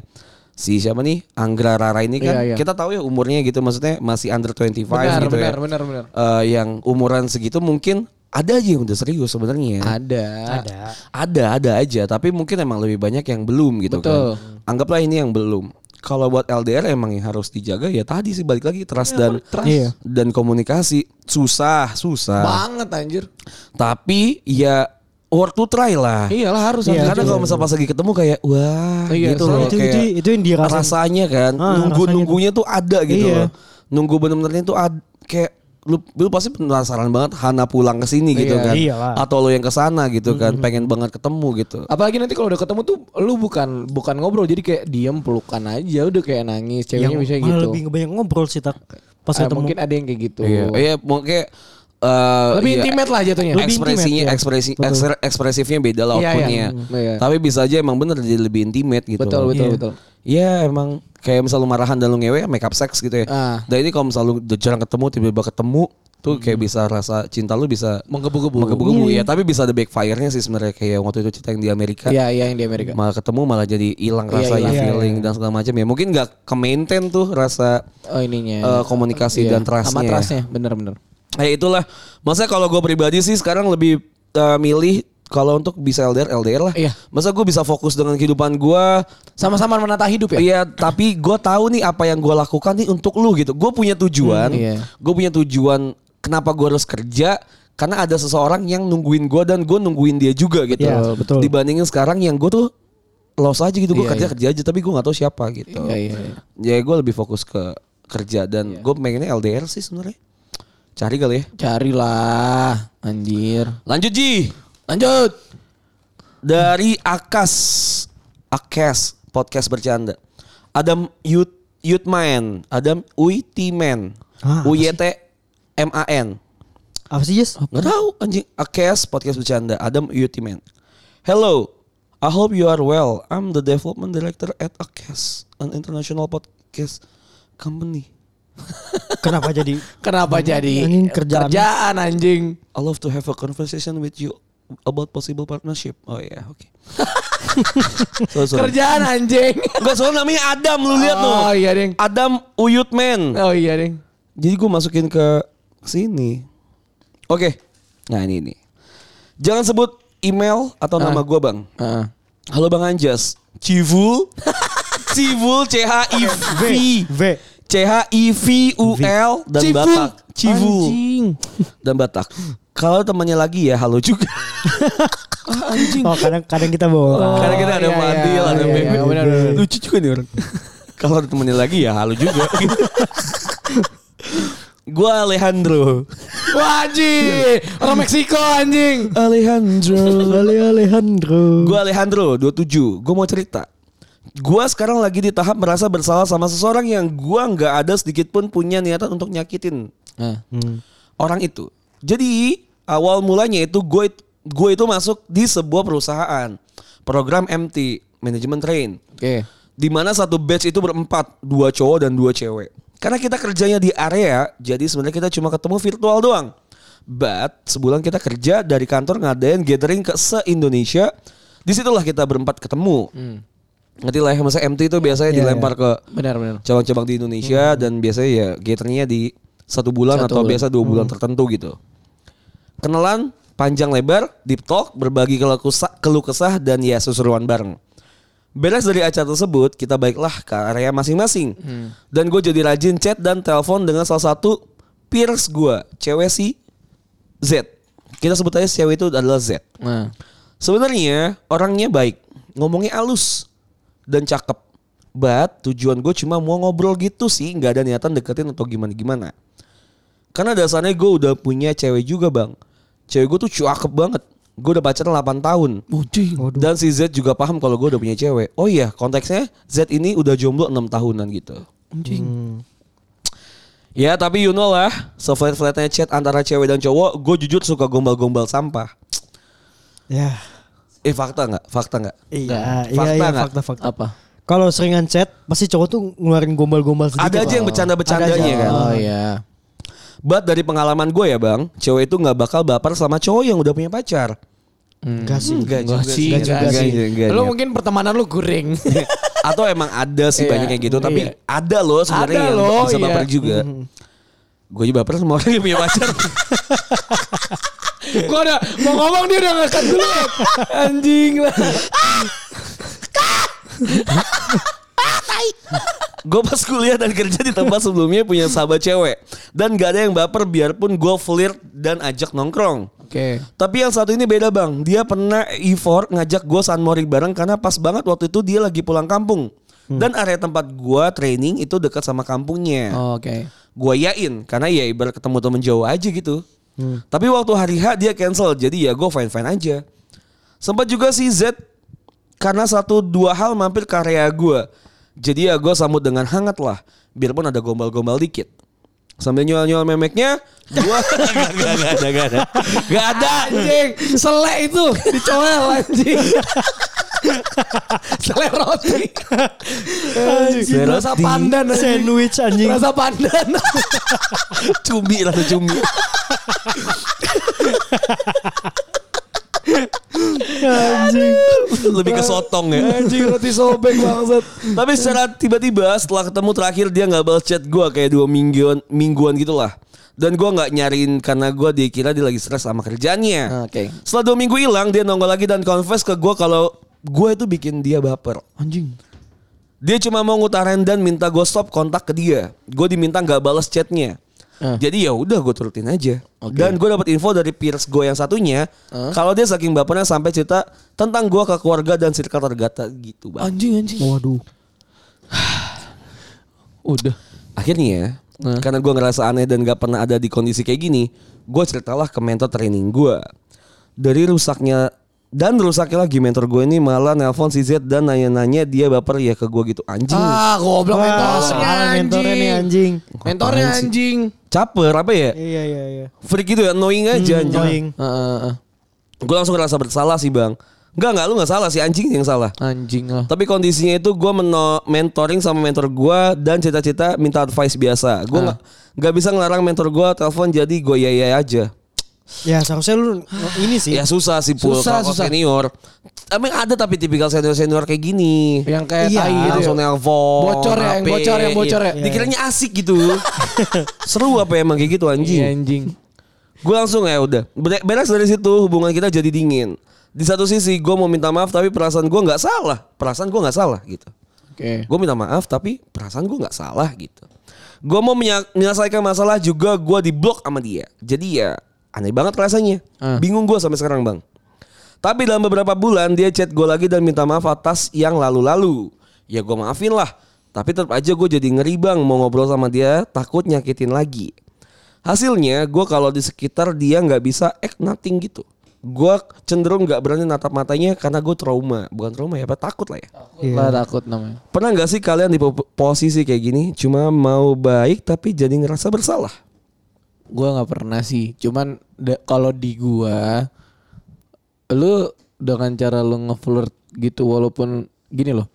[SPEAKER 4] si siapa nih Anggra Rara ini kan
[SPEAKER 2] Iya, iya.
[SPEAKER 4] kita tahu ya umurnya gitu maksudnya masih under 25
[SPEAKER 2] Benar,
[SPEAKER 4] gitu
[SPEAKER 2] benar,
[SPEAKER 4] ya.
[SPEAKER 2] benar, benar.
[SPEAKER 4] Eh, yang umuran segitu mungkin ada aja yang udah serius sebenarnya. ya.
[SPEAKER 2] Ada.
[SPEAKER 3] Ada.
[SPEAKER 4] Ada, ada aja. Tapi mungkin emang lebih banyak yang belum gitu
[SPEAKER 2] Betul.
[SPEAKER 4] kan. Anggaplah ini yang belum. Kalau buat LDR emang yang harus dijaga ya tadi sih balik lagi trust dan
[SPEAKER 3] Iya.
[SPEAKER 4] dan komunikasi susah, susah.
[SPEAKER 2] Banget anjir.
[SPEAKER 4] Tapi ya worth to try lah.
[SPEAKER 2] Iyalah harus
[SPEAKER 3] Iya,
[SPEAKER 4] Karena
[SPEAKER 3] iya,
[SPEAKER 4] kalau misalnya pas lagi ketemu kayak wah
[SPEAKER 2] Iya,
[SPEAKER 4] gitu
[SPEAKER 2] soalnya
[SPEAKER 4] loh
[SPEAKER 3] itu-
[SPEAKER 4] kayak
[SPEAKER 3] itu- itu yang dirasain.
[SPEAKER 4] rasanya kan
[SPEAKER 3] Ah,
[SPEAKER 4] nunggu nunggunya tuh ada gitu
[SPEAKER 3] Iya.
[SPEAKER 4] loh. Nunggu bener-benernya tuh ad, kayak lu, lu pasti penasaran banget Hana pulang ke sini gitu
[SPEAKER 2] Iya.
[SPEAKER 4] kan.
[SPEAKER 3] Iyalah.
[SPEAKER 4] Atau lo yang ke sana gitu kan, pengen banget ketemu gitu.
[SPEAKER 2] Apalagi nanti kalau udah ketemu tuh lu bukan bukan ngobrol jadi kayak diem pelukan aja udah kayak nangis ceweknya bisa
[SPEAKER 3] malah
[SPEAKER 2] gitu.
[SPEAKER 3] lebih banyak ngobrol sih tak pas
[SPEAKER 2] Ah,
[SPEAKER 3] ketemu.
[SPEAKER 2] mungkin ada yang kayak gitu.
[SPEAKER 4] Iya, iya mungkin eh,
[SPEAKER 2] Lebih
[SPEAKER 4] iya,
[SPEAKER 2] intimate lah jatuhnya.
[SPEAKER 3] Lebih
[SPEAKER 4] ekspresinya
[SPEAKER 3] intimate, ya.
[SPEAKER 4] ekspresi
[SPEAKER 3] Betul.
[SPEAKER 4] ekser- ekspresifnya beda lah
[SPEAKER 2] Iya, iya.
[SPEAKER 4] outputnya.
[SPEAKER 2] Hmm, iya.
[SPEAKER 4] Tapi bisa aja emang bener jadi lebih intimate gitu.
[SPEAKER 2] Betul,
[SPEAKER 4] loh.
[SPEAKER 2] betul,
[SPEAKER 4] Iya.
[SPEAKER 2] betul.
[SPEAKER 4] Iya emang kayak misal lu marahan dan lu ngewe make up sex gitu ya.
[SPEAKER 2] Ah.
[SPEAKER 4] Dan ini kalau misal lu udah jarang ketemu tiba-tiba ketemu tuh kayak bisa rasa cinta lu bisa
[SPEAKER 2] Hmm. Menggebu-gebu.
[SPEAKER 4] menggebu-gebu ya, tapi bisa ada backfire-nya sih sebenarnya kayak waktu itu cerita yang di Amerika.
[SPEAKER 2] Iya, iya yang di Amerika. Iya,
[SPEAKER 4] Malah ketemu malah jadi hilang rasanya
[SPEAKER 3] hilang.
[SPEAKER 4] feeling dan segala macam ya. Mungkin nggak ke maintain tuh rasa
[SPEAKER 2] Oh ininya. Iya.
[SPEAKER 4] Eh, komunikasi dan trustnya
[SPEAKER 2] Sama
[SPEAKER 4] ya.
[SPEAKER 2] trustnya, bener-bener.
[SPEAKER 4] Ya itulah. Masa kalau gue pribadi sih sekarang lebih eh, milih kalau untuk bisa LDR LDR lah.
[SPEAKER 2] Iya.
[SPEAKER 4] Masa gue bisa fokus dengan kehidupan gue.
[SPEAKER 2] Sama-sama menata hidup ya.
[SPEAKER 4] Iya, tapi gue tahu nih apa yang gue lakukan nih untuk lu gitu. Gue punya tujuan.
[SPEAKER 2] Hmm, iya.
[SPEAKER 4] Gue punya tujuan kenapa gue harus kerja. Karena ada seseorang yang nungguin gue dan gue nungguin dia juga gitu.
[SPEAKER 3] Iya, betul.
[SPEAKER 4] Dibandingin sekarang yang gue tuh los aja gitu. Gue
[SPEAKER 2] Iya,
[SPEAKER 4] kerja
[SPEAKER 2] iya.
[SPEAKER 4] kerja aja tapi gue nggak tahu siapa gitu.
[SPEAKER 2] Iya, iya, iya.
[SPEAKER 4] Ya gue lebih fokus ke kerja dan gue pengennya LDR sih sebenarnya. Cari kali ya.
[SPEAKER 2] Carilah, anjir.
[SPEAKER 4] Lanjut Ji.
[SPEAKER 2] Lanjut.
[SPEAKER 4] Dari Akas. Akas podcast bercanda. Adam Yut Yutman, Adam Uitiman.
[SPEAKER 3] Ah, apa
[SPEAKER 4] U Y T M A N.
[SPEAKER 3] Apa sih Yes?
[SPEAKER 4] Nggak tahu anjing Akas podcast bercanda Adam Utiman. Hello, I hope you are well. I'm the development director at Akas, an international podcast company.
[SPEAKER 3] Kenapa jadi?
[SPEAKER 2] Kenapa jadi
[SPEAKER 3] Anjing, kerjaan.
[SPEAKER 2] kerjaan anjing?
[SPEAKER 4] I love to have a conversation with you about possible partnership. Oh yeah,
[SPEAKER 3] [laughs]
[SPEAKER 4] oke. So, sorry.
[SPEAKER 2] Kerjaan anjing.
[SPEAKER 4] Enggak soalnya namanya Adam lu lihat tuh.
[SPEAKER 2] Oh iya, Ding.
[SPEAKER 4] Adam Uyutman.
[SPEAKER 2] Oh iya, Ding.
[SPEAKER 4] Jadi gue masukin ke sini. Oke. Nah ini ini. Jangan sebut email atau
[SPEAKER 2] Ah.
[SPEAKER 4] nama gue bang.
[SPEAKER 2] Heeh.
[SPEAKER 4] Halo bang Anjas.
[SPEAKER 2] [laughs]
[SPEAKER 4] Civul. Civul C H I V
[SPEAKER 3] V.
[SPEAKER 4] C H I V U L dan
[SPEAKER 2] Civul.
[SPEAKER 4] Batak. Civul
[SPEAKER 2] Anjing.
[SPEAKER 4] dan Batak. Kalau temannya lagi ya halo juga.
[SPEAKER 3] Oh kadang-kadang kita bawa.
[SPEAKER 4] Karena
[SPEAKER 3] [laughs]
[SPEAKER 4] kita ada
[SPEAKER 2] iya,
[SPEAKER 4] Fadil,
[SPEAKER 2] iya,
[SPEAKER 4] ada
[SPEAKER 2] iya,
[SPEAKER 4] Bebe.
[SPEAKER 2] iya, benar, benar, benar.
[SPEAKER 4] Lucu juga nih
[SPEAKER 2] [laughs]
[SPEAKER 4] orang. Kalau ada temennya lagi ya halu [laughs] juga. Gue Alejandro.
[SPEAKER 2] Wah, anjing. Orang Meksiko anjing.
[SPEAKER 4] Alejandro.
[SPEAKER 3] Ale Alejandro.
[SPEAKER 4] Gue Alejandro, 27. Gue mau cerita. Gue sekarang lagi di tahap merasa bersalah sama seseorang yang gue nggak ada sedikit pun punya niatan untuk nyakitin.
[SPEAKER 2] Nah,
[SPEAKER 4] orang itu. Jadi awal mulanya itu gue gue itu masuk di sebuah perusahaan program MT manajemen train
[SPEAKER 2] Oke.
[SPEAKER 4] di mana satu batch itu berempat, dua cowok dan dua cewek. Karena kita kerjanya di area, jadi sebenarnya kita cuma ketemu virtual doang. But sebulan kita kerja dari kantor ngadain gathering ke se Indonesia. Disitulah kita berempat ketemu. Ngerti lah, ya, masa MT itu biasanya
[SPEAKER 3] Iya,
[SPEAKER 4] dilempar ke
[SPEAKER 2] Benar benar.
[SPEAKER 4] cabang-cabang di Indonesia dan biasanya ya gatheringnya di satu bulan
[SPEAKER 2] Hmm. Satu
[SPEAKER 4] atau
[SPEAKER 2] bulan. Hmm.
[SPEAKER 4] biasa dua bulan tertentu gitu. Kenalan panjang lebar, deep talk, berbagi keluh kesah, keluh kesah dan ya seseruan bareng. Beres dari acara tersebut, kita baiklah ke area masing-masing.
[SPEAKER 2] Hmm.
[SPEAKER 4] Dan gue jadi rajin chat dan telepon dengan salah satu peers gue, cewek si Z. Kita sebut aja si cewek itu adalah Z.
[SPEAKER 2] Nah.
[SPEAKER 4] Sebenarnya orangnya baik, ngomongnya halus dan cakep. But tujuan gue cuma mau ngobrol gitu sih, nggak ada niatan deketin atau gimana-gimana. Karena dasarnya gue udah punya cewek juga bang. Cewek gue tuh cakep banget. Gue udah pacaran 8 tahun.
[SPEAKER 2] Bucing.
[SPEAKER 4] Dan si Z juga paham kalau gue udah punya cewek. Oh iya konteksnya Z ini udah jomblo 6 tahunan gitu. Ya tapi you know lah, seflat-flatnya chat antara cewek dan cowok, gue jujur suka gombal-gombal sampah.
[SPEAKER 3] Ya.
[SPEAKER 4] Eh fakta nggak? Fakta nggak?
[SPEAKER 3] Iya,
[SPEAKER 4] Fakta
[SPEAKER 3] iya, iya,
[SPEAKER 4] nggak?
[SPEAKER 3] fakta, fakta.
[SPEAKER 2] Apa?
[SPEAKER 3] Kalau seringan chat, pasti cowok tuh ngeluarin gombal-gombal sedikit.
[SPEAKER 4] Ada aja yang
[SPEAKER 3] lah.
[SPEAKER 4] bercanda-bercandanya
[SPEAKER 3] Ada aja.
[SPEAKER 4] kan?
[SPEAKER 2] Oh iya.
[SPEAKER 4] But dari pengalaman gue ya bang, cewek itu nggak bakal baper sama cowok yang udah punya pacar.
[SPEAKER 3] Hmm. Enggak sih.
[SPEAKER 2] Hmm. Enggak sih, enggak
[SPEAKER 3] enggak juga
[SPEAKER 2] sih.
[SPEAKER 4] enggak, enggak,
[SPEAKER 2] Lu
[SPEAKER 4] enggak.
[SPEAKER 2] mungkin pertemanan lu [laughs] guring.
[SPEAKER 4] Atau emang ada sih
[SPEAKER 2] Iya,
[SPEAKER 4] banyak yang gitu, tapi
[SPEAKER 2] iya.
[SPEAKER 4] ada loh sebenarnya
[SPEAKER 2] Ada
[SPEAKER 4] yang
[SPEAKER 2] loh,
[SPEAKER 4] bisa
[SPEAKER 2] iya.
[SPEAKER 4] baper juga. Gue juga baper sama orang yang punya
[SPEAKER 2] [laughs]
[SPEAKER 4] pacar.
[SPEAKER 2] Gua udah mau ngomong dia udah ngekat [laughs] dulu. Anjing lah.
[SPEAKER 4] gue pas kuliah dan kerja di tempat sebelumnya punya sahabat cewek dan gak ada yang baper biarpun gue flirt dan ajak nongkrong.
[SPEAKER 2] Oke.
[SPEAKER 4] Tapi yang satu ini beda bang. Dia pernah Ivor ngajak gue sunmori bareng karena pas banget waktu itu dia lagi pulang kampung. Dan area tempat gue training itu dekat sama kampungnya.
[SPEAKER 2] Oh, Oke.
[SPEAKER 4] Gue yain karena ya ibarat ketemu temen jauh aja gitu. Tapi waktu hari H dia cancel jadi ya gue fine fine aja. Sempat juga si Z karena satu dua hal mampir ke area gue. Jadi ya gue sambut dengan hangat lah. Biarpun ada gombal-gombal dikit. Sambil nyual-nyual memeknya, gue gak ada, gak ada, gak ada.
[SPEAKER 2] Anjing, selek itu dicoel anjing. selek roti. Anjing,
[SPEAKER 4] Selek
[SPEAKER 2] rasa
[SPEAKER 4] roti.
[SPEAKER 2] pandan anjing.
[SPEAKER 3] Sandwich anjing.
[SPEAKER 2] Rasa pandan.
[SPEAKER 4] [laughs] cumi rasa cumi
[SPEAKER 3] Anjing.
[SPEAKER 4] lebih ke sotong ya
[SPEAKER 2] anjing roti sobek bangsat.
[SPEAKER 4] tapi secara tiba-tiba setelah ketemu terakhir dia nggak balas chat gue kayak dua mingguan mingguan gitulah dan gue nggak nyariin karena gue dikira dia lagi stres sama kerjanya
[SPEAKER 2] Ah, Oke.
[SPEAKER 4] setelah dua minggu hilang dia nongol lagi dan confess ke gue kalau gue itu bikin dia baper
[SPEAKER 2] Anjing.
[SPEAKER 4] Dia cuma mau ngutarain dan minta gue stop kontak ke dia. Gue diminta nggak balas chatnya.
[SPEAKER 2] Eh.
[SPEAKER 4] Jadi ya udah gue turutin aja. Dan gue dapat info dari peers gue yang satunya, kalau dia saking bapernya sampai cerita tentang gue ke keluarga dan circle tergata gitu bang.
[SPEAKER 2] Anjing anjing.
[SPEAKER 3] Waduh.
[SPEAKER 2] Udah.
[SPEAKER 4] Akhirnya, ya, karena gue ngerasa aneh dan gak pernah ada di kondisi kayak gini, gue ceritalah ke mentor training gue. Dari rusaknya dan rusaknya lagi mentor gue ini malah nelpon si Z dan nanya-nanya dia baper ya ke gue gitu anjing.
[SPEAKER 2] Ah, goblok
[SPEAKER 3] Wah,
[SPEAKER 2] mentornya
[SPEAKER 3] salah
[SPEAKER 2] anjing.
[SPEAKER 3] mentornya nih, anjing.
[SPEAKER 2] Mentornya
[SPEAKER 4] Apaan sih?
[SPEAKER 2] anjing.
[SPEAKER 4] Caper apa ya?
[SPEAKER 3] Iya iya iya.
[SPEAKER 4] Freak gitu ya, annoying aja anjing.
[SPEAKER 3] Anjing.
[SPEAKER 2] Ah, ah, ah.
[SPEAKER 4] Gue langsung ngerasa bersalah sih bang Enggak enggak lu gak salah sih anjing yang salah
[SPEAKER 2] Anjing lah.
[SPEAKER 4] Tapi kondisinya itu gue meno- mentoring sama mentor gue Dan cita-cita minta advice biasa Gue
[SPEAKER 2] Ah.
[SPEAKER 4] nggak nggak bisa ngelarang mentor gue telepon jadi gue ya ya aja
[SPEAKER 3] Ya seharusnya lu ini sih.
[SPEAKER 4] Ya susah sih pul
[SPEAKER 2] Iya. Susah,
[SPEAKER 4] kalau
[SPEAKER 2] susah.
[SPEAKER 4] senior Emang ada tapi tipikal senior-senior kayak gini
[SPEAKER 2] Yang kayak
[SPEAKER 3] Iya,
[SPEAKER 2] tai gitu.
[SPEAKER 4] Langsung
[SPEAKER 2] ya.
[SPEAKER 4] nelpon
[SPEAKER 2] Bocor ya, yang
[SPEAKER 4] HP,
[SPEAKER 2] bocor, yang bocor ya.
[SPEAKER 4] iya. Dikiranya asik
[SPEAKER 2] [laughs]
[SPEAKER 4] gitu Seru apa emang kayak gitu anjing
[SPEAKER 2] Iya, anjing.
[SPEAKER 4] Gue langsung ya udah Ber- Beres dari situ hubungan kita jadi dingin Di satu sisi gue mau minta maaf tapi perasaan gue gak salah Perasaan gue gak salah gitu
[SPEAKER 2] Oke.
[SPEAKER 4] Gue minta maaf tapi perasaan gue gak salah gitu Gue mau menya- menyelesaikan masalah juga gue diblok sama dia Jadi ya aneh banget rasanya
[SPEAKER 2] Ah.
[SPEAKER 4] Bingung gue sampai sekarang bang Tapi dalam beberapa bulan dia chat gue lagi dan minta maaf atas yang lalu-lalu Ya gue maafin lah Tapi tetap aja gue jadi ngeri bang mau ngobrol sama dia takut nyakitin lagi Hasilnya gue kalau di sekitar dia nggak bisa act nothing gitu. Gue cenderung nggak berani natap matanya karena gue trauma. Bukan trauma ya, apa takut lah ya.
[SPEAKER 3] Iya.
[SPEAKER 2] Lah takut namanya.
[SPEAKER 4] Pernah nggak sih kalian di po- posisi kayak gini? Cuma mau baik tapi jadi ngerasa bersalah.
[SPEAKER 2] gua nggak pernah sih. Cuman da- kalau di gua lu dengan cara lu ngeflirt gitu walaupun gini loh.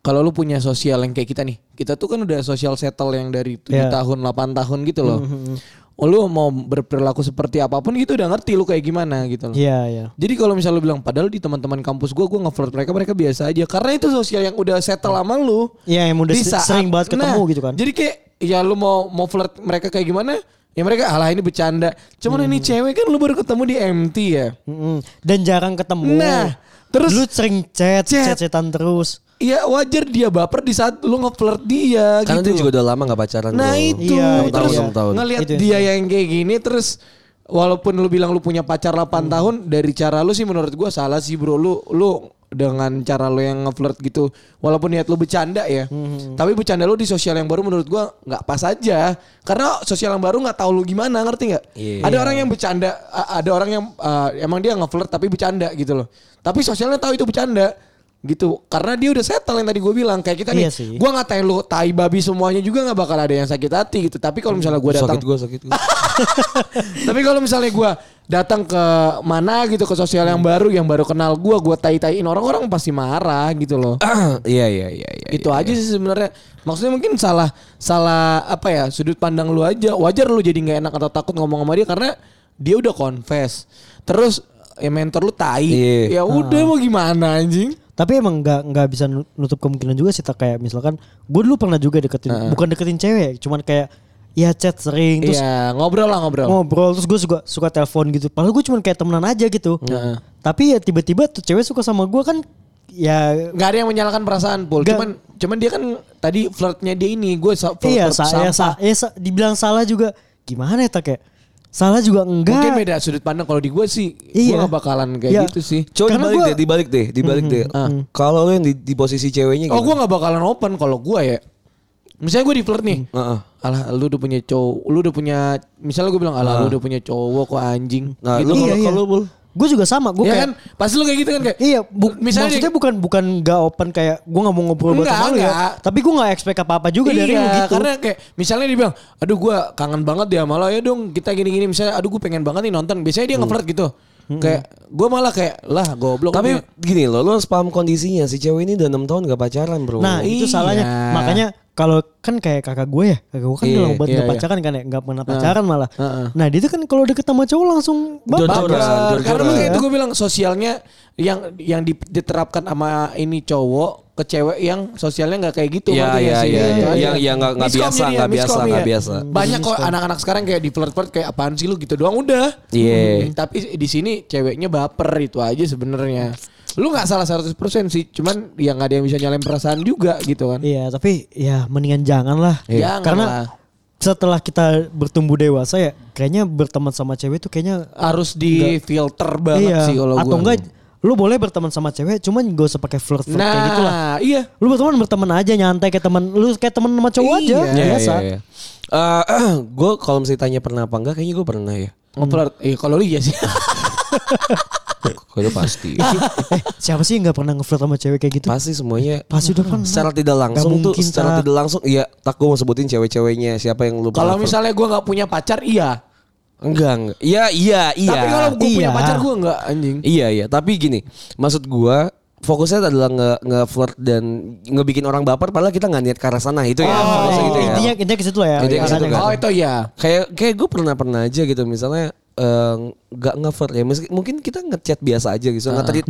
[SPEAKER 2] Kalau lu punya sosial yang kayak kita nih. Kita tuh kan udah sosial settle yang dari 7
[SPEAKER 3] Iya.
[SPEAKER 2] tahun, 8 tahun gitu loh. Lu mau berperilaku seperti apapun gitu udah ngerti lu kayak gimana gitu loh.
[SPEAKER 3] Iya, iya.
[SPEAKER 2] Jadi kalau misalnya lu bilang padahal di teman-teman kampus gua gua ngeflirt mereka mereka biasa aja karena itu sosial yang udah settle sama lu.
[SPEAKER 3] Iya, yang udah
[SPEAKER 2] Di
[SPEAKER 3] se-
[SPEAKER 2] saat-
[SPEAKER 3] sering banget ketemu gitu kan.
[SPEAKER 2] Jadi kayak ya lu mau mau flirt mereka kayak gimana? Ya mereka alah ini bercanda. Cuman
[SPEAKER 3] Hmm.
[SPEAKER 2] ini cewek kan lu baru ketemu di MT ya.
[SPEAKER 3] Mm-mm. Dan jarang ketemu.
[SPEAKER 2] Nah, terus-
[SPEAKER 3] lu sering chat,
[SPEAKER 2] Chat.
[SPEAKER 3] chat-chatan terus.
[SPEAKER 2] Ya wajar dia baper di saat lu ngeflirt dia
[SPEAKER 4] Karena dia
[SPEAKER 2] gitu.
[SPEAKER 4] juga udah lama gak pacaran
[SPEAKER 2] Nah
[SPEAKER 4] bro.
[SPEAKER 2] itu
[SPEAKER 3] Iya,
[SPEAKER 4] Enam
[SPEAKER 2] terus
[SPEAKER 4] tahun, enam tahun.
[SPEAKER 2] ngelihat
[SPEAKER 3] Itu yang
[SPEAKER 2] dia yang kayak gini terus walaupun lu bilang lu punya pacar 8 tahun dari cara lu sih menurut gua salah sih bro lu lu dengan cara lu yang ngeflirt gitu walaupun niat lu bercanda ya tapi bercanda lu di sosial yang baru menurut gua nggak pas aja karena sosial yang baru nggak tahu lu gimana ngerti nggak
[SPEAKER 4] Iya.
[SPEAKER 2] ada orang yang bercanda a- ada orang yang uh, emang dia ngeflirt tapi bercanda gitu loh tapi sosialnya tahu itu bercanda gitu karena dia udah settle yang tadi gue bilang kayak kita nih
[SPEAKER 3] Iya sih.
[SPEAKER 2] gua ngatain lu tai babi semuanya juga nggak bakal ada yang sakit hati gitu tapi kalau misalnya gue datang
[SPEAKER 4] Sakit gue, sakit gue.
[SPEAKER 2] [laughs] tapi kalau misalnya gua datang ke mana gitu ke sosial yang baru yang baru kenal gua gua tai taiin orang-orang pasti marah gitu loh
[SPEAKER 4] Iya, iya, iya. iya,
[SPEAKER 2] itu
[SPEAKER 4] iya.
[SPEAKER 2] aja sih sebenarnya maksudnya mungkin salah salah apa ya sudut pandang lu aja wajar lu jadi nggak enak atau takut ngomong sama dia karena dia udah confess terus ya mentor lu tai ya
[SPEAKER 4] Iya.
[SPEAKER 2] udah mau gimana anjing
[SPEAKER 3] Tapi emang nggak nggak bisa nu- nutup kemungkinan juga sih tak kayak misalkan gue dulu pernah juga deketin bukan deketin cewek, cuman kayak ya chat sering terus
[SPEAKER 2] Iya ngobrol lah ngobrol
[SPEAKER 3] ngobrol terus gue suka suka telepon gitu. Padahal gue cuman kayak temenan aja gitu. Tapi ya tiba-tiba tuh cewek suka sama gue kan ya
[SPEAKER 2] nggak ada yang menyalahkan perasaan pul
[SPEAKER 3] Nggak.
[SPEAKER 2] cuman cuman dia kan tadi flirtnya dia ini gue sa- flirt,
[SPEAKER 3] iya
[SPEAKER 2] flirt
[SPEAKER 3] sa ya,
[SPEAKER 2] sampah.
[SPEAKER 3] sa- ya, sa- dibilang salah juga gimana ya tak ya? Salah juga enggak.
[SPEAKER 2] mungkin beda sudut pandang kalau di gue sih gue
[SPEAKER 3] Iya.
[SPEAKER 2] gak bakalan kayak
[SPEAKER 3] Iya.
[SPEAKER 2] gitu sih
[SPEAKER 4] Coba
[SPEAKER 3] Karena
[SPEAKER 4] dibalik
[SPEAKER 3] gua-
[SPEAKER 4] deh, dibalik deh, dibalik deh. Kalau lu yang di, di posisi ceweknya
[SPEAKER 2] oh gue gak bakalan open kalau gue ya misalnya gue di flirt nih
[SPEAKER 4] Heeh.
[SPEAKER 3] Hmm.
[SPEAKER 2] Alah lu udah punya cowok Lu udah punya Misalnya gue bilang Alah lu udah punya cowok kok anjing
[SPEAKER 4] Nah,
[SPEAKER 2] gitu.
[SPEAKER 4] lu
[SPEAKER 3] Nah. Iya,
[SPEAKER 4] kalau
[SPEAKER 3] iya.
[SPEAKER 4] kalau bul
[SPEAKER 3] Gue juga sama,
[SPEAKER 2] ya
[SPEAKER 3] gue kayak
[SPEAKER 2] kan Pasti lu kayak gitu kan kayak
[SPEAKER 3] Iya, bu-
[SPEAKER 2] Misalnya
[SPEAKER 3] maksudnya
[SPEAKER 2] dia-
[SPEAKER 3] bukan bukan nggak open kayak gue nggak mau ngobrol buat
[SPEAKER 2] Enggak,
[SPEAKER 3] sama lu ya.
[SPEAKER 2] enggak.
[SPEAKER 3] Tapi gue nggak expect apa apa juga dari lu gitu.
[SPEAKER 2] Iya, karena kayak misalnya dia bilang, aduh gue kangen banget dia malah ya dong kita gini-gini misalnya, aduh gue pengen banget nih nonton. Biasanya
[SPEAKER 4] Hmm.
[SPEAKER 2] dia ngeflirt gitu. Kayak gue malah kayak lah goblok.
[SPEAKER 4] Tapi
[SPEAKER 2] ini."
[SPEAKER 4] gini loh, lu harus paham kondisinya. Si cewek ini udah 6 tahun gak pacaran bro.
[SPEAKER 3] nah
[SPEAKER 2] iya.
[SPEAKER 3] itu salahnya. Makanya kalau kan kayak kakak gue ya, kakak gue kan
[SPEAKER 4] Iya,
[SPEAKER 3] udah lama banget
[SPEAKER 2] iya,
[SPEAKER 3] nggak
[SPEAKER 2] iya.
[SPEAKER 3] pacaran kan ya, nggak pernah pacaran malah.
[SPEAKER 2] Heeh.
[SPEAKER 3] Nah dia tuh kan kalau deket sama cowok langsung
[SPEAKER 4] Jor-joran,
[SPEAKER 3] baper.
[SPEAKER 2] Baper.
[SPEAKER 4] jor-joran.
[SPEAKER 2] Karena makanya itu gue bilang sosialnya yang yang di- diterapkan sama ini cowok ke cewek yang sosialnya nggak kayak gitu
[SPEAKER 4] Iya,
[SPEAKER 2] ngerti
[SPEAKER 4] iya,
[SPEAKER 2] nggak sih?
[SPEAKER 4] iya,
[SPEAKER 2] Gitu
[SPEAKER 4] iya.
[SPEAKER 2] aja.
[SPEAKER 4] Yang- yang nggak- nggak
[SPEAKER 2] Miskom
[SPEAKER 4] biasa,
[SPEAKER 2] jadinya,
[SPEAKER 4] nggak biasa,
[SPEAKER 2] miskom,
[SPEAKER 4] nggak
[SPEAKER 2] iya.
[SPEAKER 4] biasa.
[SPEAKER 2] Banyak kok anak-anak sekarang kayak di flirt flirt kayak apaan sih lu gitu doang udah.
[SPEAKER 4] Iya.
[SPEAKER 2] Hmm, Tapi di sini ceweknya baper itu aja sebenarnya. Lu nggak salah 100% sih, cuman yang nggak ada yang bisa nyalain perasaan juga gitu kan.
[SPEAKER 3] Iya tapi ya mendingan jangan lah.
[SPEAKER 2] Iya. Jangan
[SPEAKER 3] Karena
[SPEAKER 2] lah.
[SPEAKER 3] setelah kita bertumbuh dewasa ya, kayaknya berteman sama cewek tuh kayaknya
[SPEAKER 2] Harus di filter banget
[SPEAKER 3] iya.
[SPEAKER 2] sih kalau
[SPEAKER 3] Atau
[SPEAKER 2] gua.
[SPEAKER 3] enggak lu boleh berteman sama cewek, cuman gak usah pakai flirt flirt kayak gitu lah.
[SPEAKER 2] Nah, iya.
[SPEAKER 3] Lu berteman berteman aja nyantai kayak teman lu kayak teman sama cowok aja
[SPEAKER 2] Iya,
[SPEAKER 4] Iya,
[SPEAKER 3] biasa.
[SPEAKER 4] iya, iya. [clears throat] gue kalau misalnya tanya pernah apa enggak, kayaknya gue pernah ya.
[SPEAKER 3] Hmm.
[SPEAKER 2] Ngeflirt. Eh kalau lu
[SPEAKER 3] [laughs]
[SPEAKER 2] iya sih.
[SPEAKER 4] Kalau [laughs] pasti.
[SPEAKER 3] eh, siapa sih yang nggak pernah ngeflirt sama cewek kayak gitu?
[SPEAKER 4] pasti semuanya
[SPEAKER 3] Pasti udah pernah.
[SPEAKER 4] secara tidak langsung
[SPEAKER 3] Nggak
[SPEAKER 4] tuh
[SPEAKER 3] mungkin,
[SPEAKER 4] secara
[SPEAKER 3] Tak.
[SPEAKER 4] tidak langsung iya tak gue mau sebutin cewek-ceweknya siapa yang lu
[SPEAKER 2] Kalau
[SPEAKER 4] prefer.
[SPEAKER 2] misalnya gua nggak punya pacar, iya.
[SPEAKER 4] enggak enggak iya iya iya
[SPEAKER 2] Tapi kalau gue punya
[SPEAKER 3] Iya.
[SPEAKER 2] pacar gue enggak anjing.
[SPEAKER 4] iya iya tapi gini maksud gue fokusnya adalah nge, nge flirt dan ngebikin orang baper padahal kita nggak niat ke arah sana itu ya fokusnya gitu ya
[SPEAKER 3] Oh, Intinya intinya ke situ lah ya.
[SPEAKER 4] Intinya ke situ
[SPEAKER 3] Makanya
[SPEAKER 4] kan.
[SPEAKER 2] Oh itu ya.
[SPEAKER 4] kayak kayak gue pernah pernah aja gitu misalnya eh, nggak nge flirt ya Meski- mungkin kita ngechat biasa aja gitu nggak tadi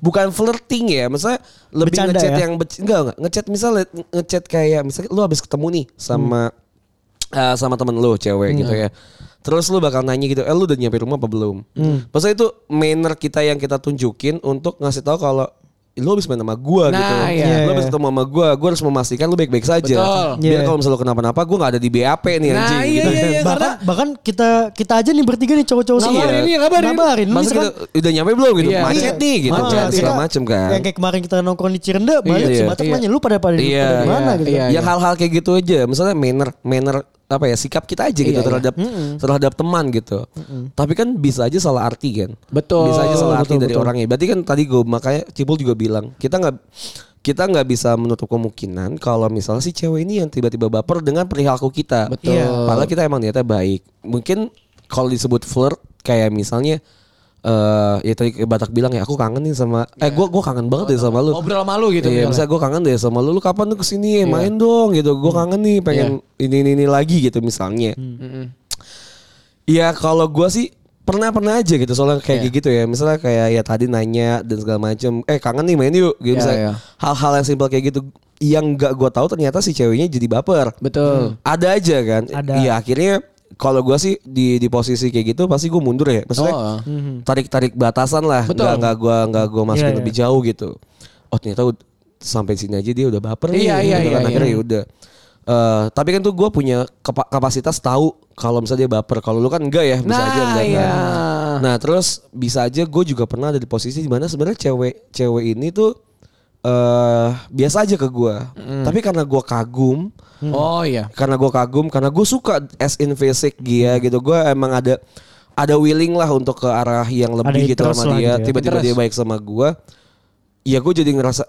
[SPEAKER 4] bukan flirting ya misalnya lebih
[SPEAKER 3] Bercanda
[SPEAKER 4] ngechat
[SPEAKER 3] ya?
[SPEAKER 4] yang bec- enggak enggak ngechat misalnya ngechat kayak misalnya lu habis ketemu nih sama eh, sama temen lu cewek gitu ya terus lu bakal nanya gitu eh lu udah nyampe rumah apa belum Maksudnya itu manner kita yang kita tunjukin untuk ngasih tahu kalau lu habis main sama
[SPEAKER 2] Nah,
[SPEAKER 4] gua
[SPEAKER 2] iya.
[SPEAKER 4] gitu
[SPEAKER 3] Iya,
[SPEAKER 4] lu
[SPEAKER 3] iya.
[SPEAKER 4] habis ketemu sama gua gua harus memastikan lu baik-baik saja
[SPEAKER 2] Betul.
[SPEAKER 3] Iya.
[SPEAKER 4] biar kalau misalnya lu kenapa-napa gua nggak ada di BAP nih
[SPEAKER 2] Nah,
[SPEAKER 4] anjing
[SPEAKER 2] iya, iya,
[SPEAKER 4] gitu.
[SPEAKER 2] iya.
[SPEAKER 3] bahkan
[SPEAKER 2] karena-
[SPEAKER 3] bahkan kita kita aja nih bertiga nih cowok-cowok
[SPEAKER 4] Iya.
[SPEAKER 3] semua.
[SPEAKER 2] Ngabarin, iya, ngabarin.
[SPEAKER 3] Ngabarin. Lu
[SPEAKER 4] Masa
[SPEAKER 3] misalkan-
[SPEAKER 4] kita udah nyampe belum gitu?
[SPEAKER 2] Iya.
[SPEAKER 4] Macet
[SPEAKER 2] Iya.
[SPEAKER 4] nih gitu.
[SPEAKER 2] Macet,
[SPEAKER 4] kan,
[SPEAKER 2] iya.
[SPEAKER 4] segala macam kan.
[SPEAKER 3] Yang kayak kemarin kita nongkrong di Cirende, balik
[SPEAKER 4] Iya,
[SPEAKER 3] si Batak
[SPEAKER 2] iya.
[SPEAKER 3] nanya lu pada pada di
[SPEAKER 4] Iya.
[SPEAKER 3] pada di mana
[SPEAKER 2] Iya,
[SPEAKER 3] gitu.
[SPEAKER 2] iya.
[SPEAKER 4] yang hal-hal kayak gitu aja. Misalnya manner, manner apa ya sikap kita aja gitu
[SPEAKER 2] Iya, iya.
[SPEAKER 4] terhadap terhadap teman gitu. Tapi kan bisa aja salah arti kan.
[SPEAKER 2] Betul.
[SPEAKER 4] Bisa aja salah arti
[SPEAKER 2] Betul,
[SPEAKER 4] dari orangnya. Berarti kan tadi gue makanya Cibul juga bilang kita nggak kita nggak bisa menutup kemungkinan kalau misalnya si cewek ini yang tiba-tiba baper dengan perilaku kita.
[SPEAKER 2] Betul.
[SPEAKER 4] Iya. Padahal kita emang niatnya baik. Mungkin kalau disebut flirt kayak misalnya eh ya tadi kayak Batak bilang ya aku kangen nih sama eh gua gua kangen banget deh sama lu.
[SPEAKER 2] Oh, Ngobrol sama lu gitu, misalnya.
[SPEAKER 4] Iya, misalnya gua kangen deh sama lu. Lu kapan tuh
[SPEAKER 2] Iya.
[SPEAKER 4] kesini main dong gitu. Gua kangen nih pengen ini, ini ini lagi gitu misalnya.
[SPEAKER 2] Hmm.
[SPEAKER 4] Iya kalau gua sih pernah pernah aja gitu soalnya kayak
[SPEAKER 2] Iya.
[SPEAKER 4] gitu ya misalnya kayak ya tadi nanya dan segala macem eh kangen nih main yuk
[SPEAKER 2] Iya,
[SPEAKER 4] gitu misalnya
[SPEAKER 2] iya.
[SPEAKER 4] hal-hal yang simpel kayak gitu yang nggak gua tahu ternyata si ceweknya jadi baper
[SPEAKER 2] Betul.
[SPEAKER 4] ada aja kan
[SPEAKER 3] Ada.
[SPEAKER 4] iya akhirnya kalau gua sih di di posisi kayak gitu pasti gua mundur ya
[SPEAKER 2] Oh.
[SPEAKER 4] maksudnya tarik tarik batasan lah
[SPEAKER 2] Betul.
[SPEAKER 4] nggak nggak gua nggak gua masukin
[SPEAKER 3] Iya,
[SPEAKER 4] lebih jauh gitu oh ternyata ud- sampai sini aja dia udah baper nih
[SPEAKER 2] Iya, iya,
[SPEAKER 4] gitu
[SPEAKER 2] iya,
[SPEAKER 4] kan.
[SPEAKER 2] iya.
[SPEAKER 4] akhirnya ya udah Eh, tapi kan tuh gua punya kepa- kapasitas tahu kalau misalnya dia baper kalau lu kan enggak ya bisa
[SPEAKER 2] Nah,
[SPEAKER 4] aja enggak,
[SPEAKER 2] iya.
[SPEAKER 4] kan. nah terus bisa aja gue juga pernah ada di posisi dimana sebenarnya cewek cewek ini tuh eh biasa aja ke gua tapi karena gua kagum
[SPEAKER 3] Hmm,
[SPEAKER 2] Oh iya.
[SPEAKER 4] karena gue kagum karena gue suka as in fisik dia gitu gue emang ada ada willing lah untuk ke arah yang lebih gitu
[SPEAKER 3] interest lah
[SPEAKER 4] sama dia
[SPEAKER 3] gitu ya.
[SPEAKER 4] tiba-tiba
[SPEAKER 2] Interest.
[SPEAKER 4] dia baik sama gue ya gue jadi ngerasa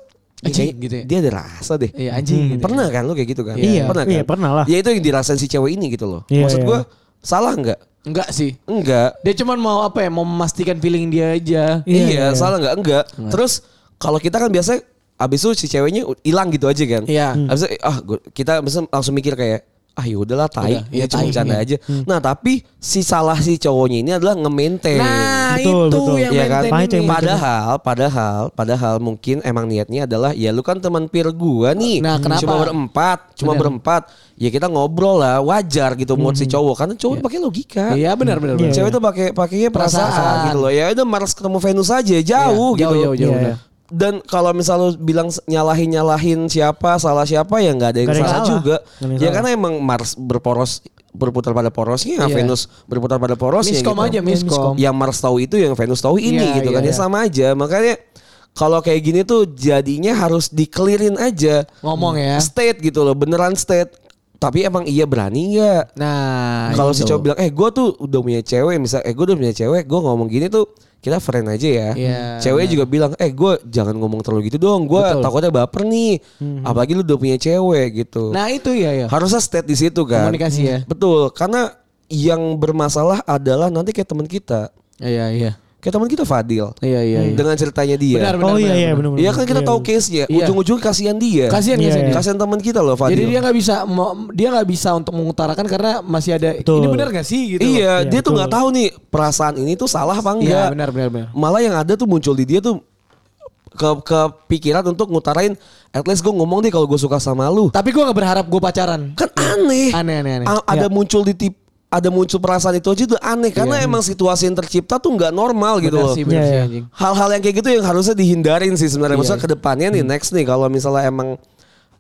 [SPEAKER 4] "Ih,
[SPEAKER 2] Anjing,
[SPEAKER 4] kayak
[SPEAKER 2] gitu ya.
[SPEAKER 4] dia ada rasa deh
[SPEAKER 2] Iya anjing
[SPEAKER 3] Hmm.
[SPEAKER 2] gitu.
[SPEAKER 4] pernah kan lo kayak gitu kan
[SPEAKER 3] Iya.
[SPEAKER 4] pernah kan
[SPEAKER 3] Iya, pernah lah.
[SPEAKER 4] ya itu yang dirasain si cewek ini gitu loh
[SPEAKER 3] Iya,
[SPEAKER 4] maksud
[SPEAKER 3] iya.
[SPEAKER 4] gue salah nggak
[SPEAKER 2] Enggak sih.
[SPEAKER 4] enggak
[SPEAKER 2] Dia cuman mau apa ya? Mau memastikan feeling dia aja.
[SPEAKER 3] Iya,
[SPEAKER 4] Iya,
[SPEAKER 3] iya.
[SPEAKER 4] salah nggak? Enggak. Terus kalau kita kan biasa abis itu si ceweknya u- hilang gitu aja kan.
[SPEAKER 2] Iya. Hmm.
[SPEAKER 4] Abis itu, ah gua- kita biasanya langsung mikir kayak ah ya udahlah tai,
[SPEAKER 2] Udah, iya,
[SPEAKER 4] ya cuma
[SPEAKER 2] tai,
[SPEAKER 4] bercanda aja. Nah, tapi si salah si cowoknya ini adalah nge-maintain.
[SPEAKER 2] Nah
[SPEAKER 3] iya, Betul,
[SPEAKER 2] itu
[SPEAKER 3] betul.
[SPEAKER 2] yang
[SPEAKER 4] Iya
[SPEAKER 2] maintain
[SPEAKER 4] kan?
[SPEAKER 3] Pahit yang
[SPEAKER 2] ini.
[SPEAKER 3] maintain.
[SPEAKER 4] Padahal, padahal, padahal mungkin emang niatnya adalah ya lu kan teman peer gua nih. Hmm,
[SPEAKER 2] Nah, kenapa?
[SPEAKER 4] Cuma berempat, cuma
[SPEAKER 2] Benar.
[SPEAKER 4] berempat. Ya kita ngobrol lah, wajar gitu mood si cowok. Karena cowok pakai logika.
[SPEAKER 2] Hmm. Iya benar benar.
[SPEAKER 3] Iya,
[SPEAKER 2] benar.
[SPEAKER 4] Cewek tuh pakai pakainya perasaan,
[SPEAKER 2] Perasaan.
[SPEAKER 4] gitu loh. Ya udah Mars ketemu Venus aja jauh
[SPEAKER 2] Iya,
[SPEAKER 4] gitu.
[SPEAKER 2] jauh, jauh, jauh,
[SPEAKER 3] Iya,
[SPEAKER 2] benar.
[SPEAKER 3] iya.
[SPEAKER 4] Dan kalau misal lu bilang s- nyalahin-nyalahin siapa, salah siapa ya nggak ada yang
[SPEAKER 3] Nggak ada yang
[SPEAKER 4] salah
[SPEAKER 3] salah.
[SPEAKER 4] juga.
[SPEAKER 3] Nggak ada yang
[SPEAKER 4] Ya
[SPEAKER 3] salah.
[SPEAKER 4] karena emang Mars berporos berputar pada porosnya,
[SPEAKER 2] Iya.
[SPEAKER 4] Venus berputar pada porosnya
[SPEAKER 2] Miskom aja miskom.
[SPEAKER 4] Yang Mars tahu itu yang Venus tahu ini
[SPEAKER 2] Iya,
[SPEAKER 4] gitu
[SPEAKER 2] iya,
[SPEAKER 4] kan. Ya
[SPEAKER 2] iya.
[SPEAKER 4] sama aja. Makanya kalau kayak gini tuh jadinya harus dikelirin aja.
[SPEAKER 2] Ngomong ya.
[SPEAKER 4] State gitu loh, beneran state. Tapi emang iya berani nggak?
[SPEAKER 2] Nah
[SPEAKER 4] Kalau si
[SPEAKER 2] itu.
[SPEAKER 4] cowok bilang, eh gue tuh udah punya cewek, misal, eh gue udah punya cewek, gue ngomong gini tuh kita friend aja ya.
[SPEAKER 2] Iya,
[SPEAKER 4] Ceweknya juga bilang, eh gue jangan ngomong terlalu gitu dong, gue
[SPEAKER 2] Betul. Mhm.
[SPEAKER 4] takutnya baper nih. Apalagi lu udah punya cewek gitu.
[SPEAKER 2] Nah itu ya ya.
[SPEAKER 4] Harusnya state di situ kan.
[SPEAKER 2] Komunikasi ya.
[SPEAKER 4] Betul, karena yang bermasalah adalah nanti kayak teman kita,
[SPEAKER 2] Iya iya.
[SPEAKER 4] kayak teman kita Fadil,
[SPEAKER 2] Iya iya. iya.
[SPEAKER 4] dengan ceritanya dia.
[SPEAKER 2] Benar, benar.
[SPEAKER 3] Oh iya iya benar.
[SPEAKER 4] Iya kan kita tahu case-nya,
[SPEAKER 2] Iya.
[SPEAKER 4] ujung-ujung kasihan dia.
[SPEAKER 2] Kasihan
[SPEAKER 3] Iya,
[SPEAKER 2] kasihan.
[SPEAKER 3] iya.
[SPEAKER 2] dia.
[SPEAKER 4] Kasihan teman kita loh Fadil.
[SPEAKER 2] Jadi dia nggak bisa mo- dia nggak bisa untuk mengutarakan karena masih ada ini
[SPEAKER 3] Betul.
[SPEAKER 2] benar gak sih gitu.
[SPEAKER 3] Iya,
[SPEAKER 4] Iya, dia tuh
[SPEAKER 3] betul.
[SPEAKER 4] nggak tahu nih perasaan ini tuh salah apa
[SPEAKER 2] Iya,
[SPEAKER 4] enggak.
[SPEAKER 2] benar, benar, benar.
[SPEAKER 4] Malah yang ada tuh muncul di dia tuh ke kepikiran untuk ngutarain at least gue ngomong deh kalau gue suka sama lu.
[SPEAKER 2] Tapi gue nggak berharap gue pacaran.
[SPEAKER 4] Kan aneh.
[SPEAKER 2] Iya. Aneh, aneh, Iya. aneh.
[SPEAKER 4] A- ada muncul di tip ada muncul perasaan itu aja tuh aneh karena emang situasi yang tercipta tuh nggak normal gitu
[SPEAKER 2] Iya. Benar
[SPEAKER 4] loh.
[SPEAKER 2] sih, Iya. benar
[SPEAKER 3] Iya,
[SPEAKER 2] sih
[SPEAKER 3] iya.
[SPEAKER 2] anjing.
[SPEAKER 4] Hal-hal yang kayak gitu yang harusnya dihindarin sih sebenarnya. Maksudnya kedepannya
[SPEAKER 2] Hmm.
[SPEAKER 4] nih next nih kalau misalnya emang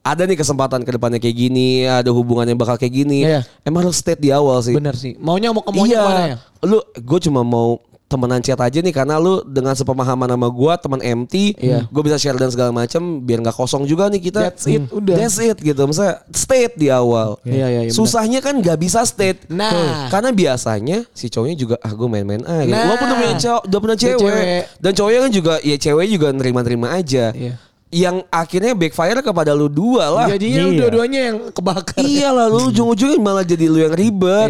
[SPEAKER 4] ada nih kesempatan kedepannya kayak gini, ada hubungan yang bakal kayak gini.
[SPEAKER 2] Iya.
[SPEAKER 4] Emang harus state di awal sih.
[SPEAKER 2] Benar sih. Maunya mau ke maunya
[SPEAKER 4] iya.
[SPEAKER 2] kemana ya?
[SPEAKER 4] Lu gue cuma mau temenan chat aja nih karena lu dengan sepemahaman sama gua teman MT,
[SPEAKER 2] Iya.
[SPEAKER 4] gue bisa share dan segala macam biar nggak kosong juga nih kita.
[SPEAKER 2] That's it,
[SPEAKER 4] Hmm.
[SPEAKER 2] udah.
[SPEAKER 4] That's it gitu. Misalnya state di awal.
[SPEAKER 2] Iya, iya, iya, benar.
[SPEAKER 4] Susahnya kan nggak bisa state.
[SPEAKER 2] Nah.
[SPEAKER 4] Tuh. karena biasanya si cowoknya juga ah gue main-main aja.
[SPEAKER 2] Nah.
[SPEAKER 4] Walaupun udah punya cowok, udah punya
[SPEAKER 2] Dia
[SPEAKER 4] cewek.
[SPEAKER 2] cewek.
[SPEAKER 4] Dan cowoknya kan juga ya cewek juga nerima-nerima aja.
[SPEAKER 2] Iya.
[SPEAKER 4] Yang akhirnya backfire kepada lu dua lah.
[SPEAKER 2] Jadinya
[SPEAKER 3] Iya.
[SPEAKER 2] dua-duanya yang kebakar.
[SPEAKER 4] Ah, Iya lah lu ujung-ujungnya malah jadi lu yang ribet.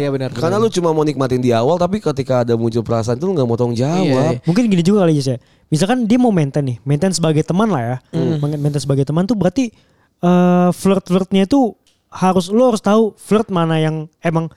[SPEAKER 2] Hmm. Iya, benar,
[SPEAKER 4] Karena
[SPEAKER 2] benar.
[SPEAKER 4] lu cuma mau nikmatin di awal tapi ketika ada muncul perasaan itu lu nggak mau tanggung jawab.
[SPEAKER 2] Iya,
[SPEAKER 3] Mungkin gini juga kali ya. Misalkan dia mau maintain nih, maintain sebagai teman lah ya. Maintain sebagai teman tuh berarti eh flirt-flirtnya itu harus lo harus tahu flirt mana yang emang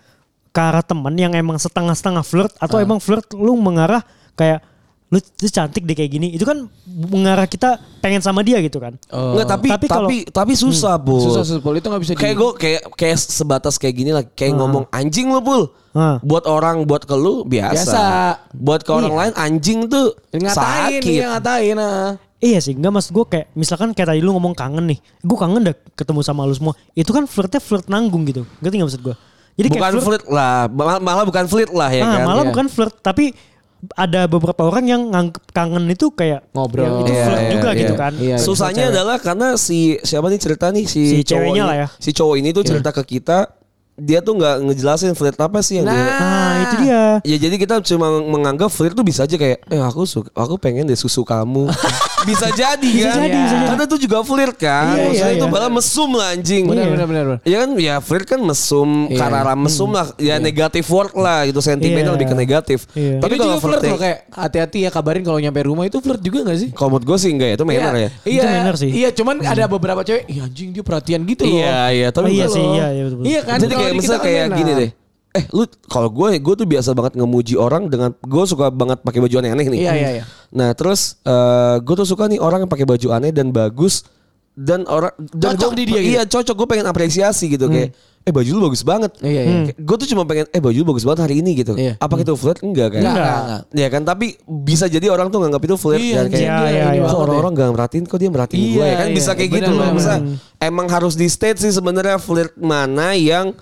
[SPEAKER 3] ke arah teman yang emang setengah-setengah flirt atau emang flirt lu mengarah kayak lu, lu cantik deh kayak gini. Itu kan mengarah kita pengen sama dia gitu kan.
[SPEAKER 2] Oh.
[SPEAKER 4] Nggak, tapi tapi
[SPEAKER 3] Tapi kalau-
[SPEAKER 4] tapi, susah, Bu.
[SPEAKER 2] Hmm, Susah susah Ah. Pul. itu nggak bisa
[SPEAKER 4] Kayak gue kayak kayak sebatas kayak gini lah kayak ngomong anjing lu pul.
[SPEAKER 3] Ah.
[SPEAKER 4] Buat orang buat ke lu biasa.
[SPEAKER 2] Biasa. Iya.
[SPEAKER 4] Buat ke orang lain anjing tuh
[SPEAKER 2] ngatain,
[SPEAKER 4] sakit.
[SPEAKER 2] iya ngatain. Nah.
[SPEAKER 3] Iya sih, enggak maksud gue kayak misalkan kayak tadi lu ngomong kangen nih, gue kangen dah ketemu sama lu semua. Itu kan flirtnya flirt nanggung gitu, ngerti nggak maksud gue? Jadi kayak
[SPEAKER 4] Bukan
[SPEAKER 3] flirt-
[SPEAKER 4] flirt lah, mal- malah bukan flirt lah ya
[SPEAKER 3] Ah,
[SPEAKER 4] kan.
[SPEAKER 3] malah
[SPEAKER 2] Iya.
[SPEAKER 3] bukan flirt, tapi ada beberapa orang yang nganggep kangen itu kayak
[SPEAKER 2] Ngobrol.
[SPEAKER 3] ya, itu
[SPEAKER 2] Iya,
[SPEAKER 3] flirt
[SPEAKER 4] iya,
[SPEAKER 3] juga
[SPEAKER 4] iya.
[SPEAKER 3] gitu kan.
[SPEAKER 2] Iya, iya.
[SPEAKER 4] Susahnya adalah karena si siapa nih cerita nih si,
[SPEAKER 3] Si
[SPEAKER 4] cowok
[SPEAKER 3] ceweknya
[SPEAKER 4] ini-
[SPEAKER 3] lah ya.
[SPEAKER 2] Iya.
[SPEAKER 4] Si cowok ini tuh cerita ke kita dia tuh nggak ngejelasin flirt apa sih yang dia-
[SPEAKER 3] Nah, itu dia.
[SPEAKER 4] Ya jadi kita cuma menganggap flirt tuh bisa aja kayak eh aku suka aku pengen deh susu
[SPEAKER 2] [laughs]
[SPEAKER 4] kamu. bisa jadi kan?
[SPEAKER 3] jadi, bisa jadi.
[SPEAKER 4] Karena itu juga flirt
[SPEAKER 3] Iya,
[SPEAKER 4] kan. Maksudnya
[SPEAKER 3] iya,
[SPEAKER 4] itu
[SPEAKER 3] iya.
[SPEAKER 4] malah mesum lah anjing.
[SPEAKER 2] Benar,
[SPEAKER 4] Iya.
[SPEAKER 2] benar, benar, benar.
[SPEAKER 4] Ya kan ya flirt kan mesum,
[SPEAKER 2] Iya.
[SPEAKER 4] karara mesum lah, ya negatif word lah gitu sentimennya
[SPEAKER 3] Iya.
[SPEAKER 4] lebih ke negatif.
[SPEAKER 2] Tapi
[SPEAKER 3] Iya.
[SPEAKER 4] Tapi
[SPEAKER 2] juga
[SPEAKER 4] kalau
[SPEAKER 2] flirt loh
[SPEAKER 4] kayak
[SPEAKER 2] kayak hati-hati ya kabarin kalau nyampe rumah itu flirt juga gak sih?
[SPEAKER 4] kalau menurut gue sih enggak ya itu manner
[SPEAKER 2] Iya,
[SPEAKER 4] ya.
[SPEAKER 3] Itu manner sih. Hmm.
[SPEAKER 2] Iya, cuman ada beberapa cewek, "Ih anjing dia perhatian gitu loh."
[SPEAKER 4] Iya, iya, tapi
[SPEAKER 3] Oh, iya
[SPEAKER 4] kalau-
[SPEAKER 3] sih, iya, iya betul.
[SPEAKER 2] Iya kan?
[SPEAKER 4] Jadi
[SPEAKER 2] Kalau
[SPEAKER 4] kayak
[SPEAKER 2] di kita
[SPEAKER 4] misal
[SPEAKER 2] kan
[SPEAKER 4] kayak
[SPEAKER 2] enak.
[SPEAKER 4] gini deh. Eh lu kalau gue gue tuh biasa banget ngemuji orang dengan gue suka banget pakai baju aneh-aneh nih.
[SPEAKER 2] Iya, iya, iya.
[SPEAKER 4] Nah terus eh gue tuh suka nih orang yang pakai baju aneh dan bagus dan orang dan
[SPEAKER 2] Cocok
[SPEAKER 4] gua-
[SPEAKER 2] di dia gitu. Hmm.
[SPEAKER 4] Iya cocok gue pengen apresiasi gitu kayak eh baju lu bagus banget. Hmm.
[SPEAKER 2] Iya, iya.
[SPEAKER 4] Gue tuh cuma pengen eh baju lu bagus banget hari ini gitu.
[SPEAKER 2] Iya.
[SPEAKER 4] Apa itu flirt? Enggak kan?
[SPEAKER 2] Enggak, enggak, enggak.
[SPEAKER 4] Iya kan tapi bisa jadi orang tuh nganggap itu flirt
[SPEAKER 2] Iya,
[SPEAKER 4] dan kayak
[SPEAKER 2] iya,
[SPEAKER 3] iya, iya.
[SPEAKER 4] kok orang-orang gak merhatiin kok dia merhatiin
[SPEAKER 2] Iya,
[SPEAKER 4] gue ya kan
[SPEAKER 2] iya.
[SPEAKER 4] bisa kayak
[SPEAKER 2] Benar,
[SPEAKER 4] gitu loh.
[SPEAKER 2] benar,
[SPEAKER 4] Bisa emang harus di state sih sebenarnya flirt mana yang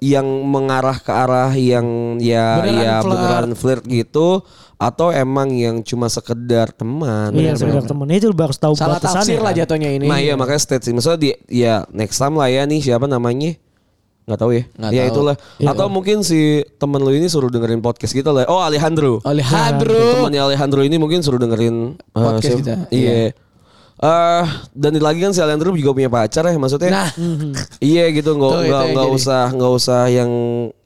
[SPEAKER 4] yang mengarah ke arah yang ya
[SPEAKER 2] Beneran
[SPEAKER 4] ya
[SPEAKER 2] flirt.
[SPEAKER 4] beneran flirt gitu atau emang yang cuma sekedar teman.
[SPEAKER 3] Iya, sekedar teman. Itu lu harus tahu
[SPEAKER 2] Salah
[SPEAKER 3] batasannya
[SPEAKER 2] tafsir lah
[SPEAKER 3] kan.
[SPEAKER 2] jatuhnya ini.
[SPEAKER 4] Nah iya makanya state sih. Maksudnya di, ya next time lah ya nih siapa namanya nggak tahu ya.
[SPEAKER 2] Nggak tahu.
[SPEAKER 4] ya
[SPEAKER 2] Iya.
[SPEAKER 4] itulah. Atau mungkin si temen lu ini suruh dengerin podcast kita lah. Oh Alejandro.
[SPEAKER 2] Oleh Hadro.
[SPEAKER 4] Iya, Temannya Alejandro ini mungkin suruh dengerin eh,
[SPEAKER 2] Podcast kita.
[SPEAKER 4] siapa- Iya. Eh, dan lagi kan si Alejandro juga punya pacar ya maksudnya.
[SPEAKER 2] Nah.
[SPEAKER 4] [laughs] iya gitu nggak
[SPEAKER 2] Tuh, itu
[SPEAKER 4] nggak
[SPEAKER 2] yang
[SPEAKER 4] nggak
[SPEAKER 2] jadi.
[SPEAKER 4] usah nggak usah yang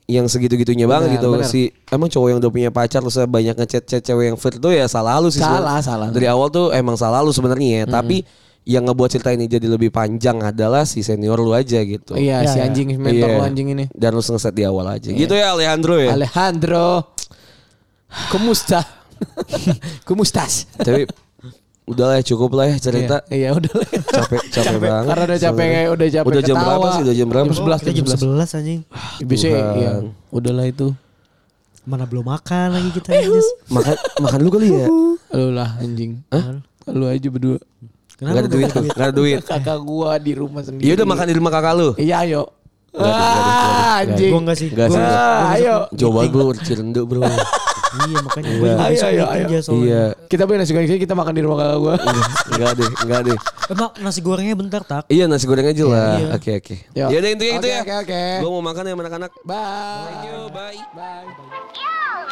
[SPEAKER 4] yang segitu-gitunya banget
[SPEAKER 2] Benar,
[SPEAKER 4] gitu
[SPEAKER 2] benar.
[SPEAKER 4] si emang cowok yang udah punya pacar terus banyak ngechat chat cewek yang flirt tuh ya salah lu sih
[SPEAKER 2] Salah,
[SPEAKER 4] sebenarnya.
[SPEAKER 2] salah.
[SPEAKER 4] dari awal tuh emang salah lu sebenarnya ya tapi yang ngebuat cerita ini jadi lebih panjang adalah si senior lu aja gitu
[SPEAKER 2] Iya,
[SPEAKER 3] Iya,
[SPEAKER 2] si
[SPEAKER 3] iya.
[SPEAKER 2] anjing mentor
[SPEAKER 4] Iya.
[SPEAKER 2] lo anjing ini. Iya.
[SPEAKER 4] dan lu ngeset di awal aja gitu ya Alejandro ya
[SPEAKER 2] Alejandro. [laughs] Kumusta? Kumustas. [laughs]
[SPEAKER 4] tapi udahlah ya, cukup lah ya cerita
[SPEAKER 2] Iya, iya udah. lah.
[SPEAKER 4] capek capek, banget
[SPEAKER 2] Karena udah capek
[SPEAKER 4] sebenarnya.
[SPEAKER 2] kayak udah capek
[SPEAKER 4] udah jam
[SPEAKER 2] ketawa.
[SPEAKER 4] berapa sih udah jam berapa
[SPEAKER 2] Jam 11
[SPEAKER 3] Kita jam 11 anjing.
[SPEAKER 2] Biasanya iya.
[SPEAKER 4] Tuhan.
[SPEAKER 2] Udahlah itu.
[SPEAKER 3] Mana belum makan lagi kita.
[SPEAKER 4] Eh,
[SPEAKER 3] Jis.
[SPEAKER 4] makan makan lu kali ya
[SPEAKER 2] Lu lah anjing. Hah? Lu aja berdua.
[SPEAKER 4] nggak ada
[SPEAKER 3] belum
[SPEAKER 4] duit nggak ada duit
[SPEAKER 2] Kakak gua di rumah sendiri.
[SPEAKER 4] ya udah makan di rumah kakak lu
[SPEAKER 2] Iya, ayo.
[SPEAKER 4] Nggak ada, nggak ada, nggak
[SPEAKER 2] Ah, anjing.
[SPEAKER 3] Gua enggak sih.
[SPEAKER 4] Nggak sih.
[SPEAKER 3] Gua-
[SPEAKER 2] Ah, ayo.
[SPEAKER 4] coba bro cirendu bro
[SPEAKER 3] Iya makanya gue
[SPEAKER 4] Iya.
[SPEAKER 3] juga besok
[SPEAKER 2] Ayo, ayo,
[SPEAKER 3] meeting
[SPEAKER 2] ayo.
[SPEAKER 3] ya soalnya.
[SPEAKER 4] [laughs] iya
[SPEAKER 2] Kita beli nasi goreng sini, kita makan di rumah kakak gua.
[SPEAKER 4] nggak deh nggak deh
[SPEAKER 3] Emang Eh, nasi gorengnya bentar tak.
[SPEAKER 4] iya nasi goreng aja
[SPEAKER 3] Iya.
[SPEAKER 4] lah oke oke
[SPEAKER 2] Yuk.
[SPEAKER 4] ya udah intinya itu
[SPEAKER 2] Oke,
[SPEAKER 4] ya
[SPEAKER 2] oke, oke.
[SPEAKER 4] gue mau makan ya sama anak-anak
[SPEAKER 2] Bye.
[SPEAKER 4] bye
[SPEAKER 2] Bye. Bye.
[SPEAKER 5] Ew,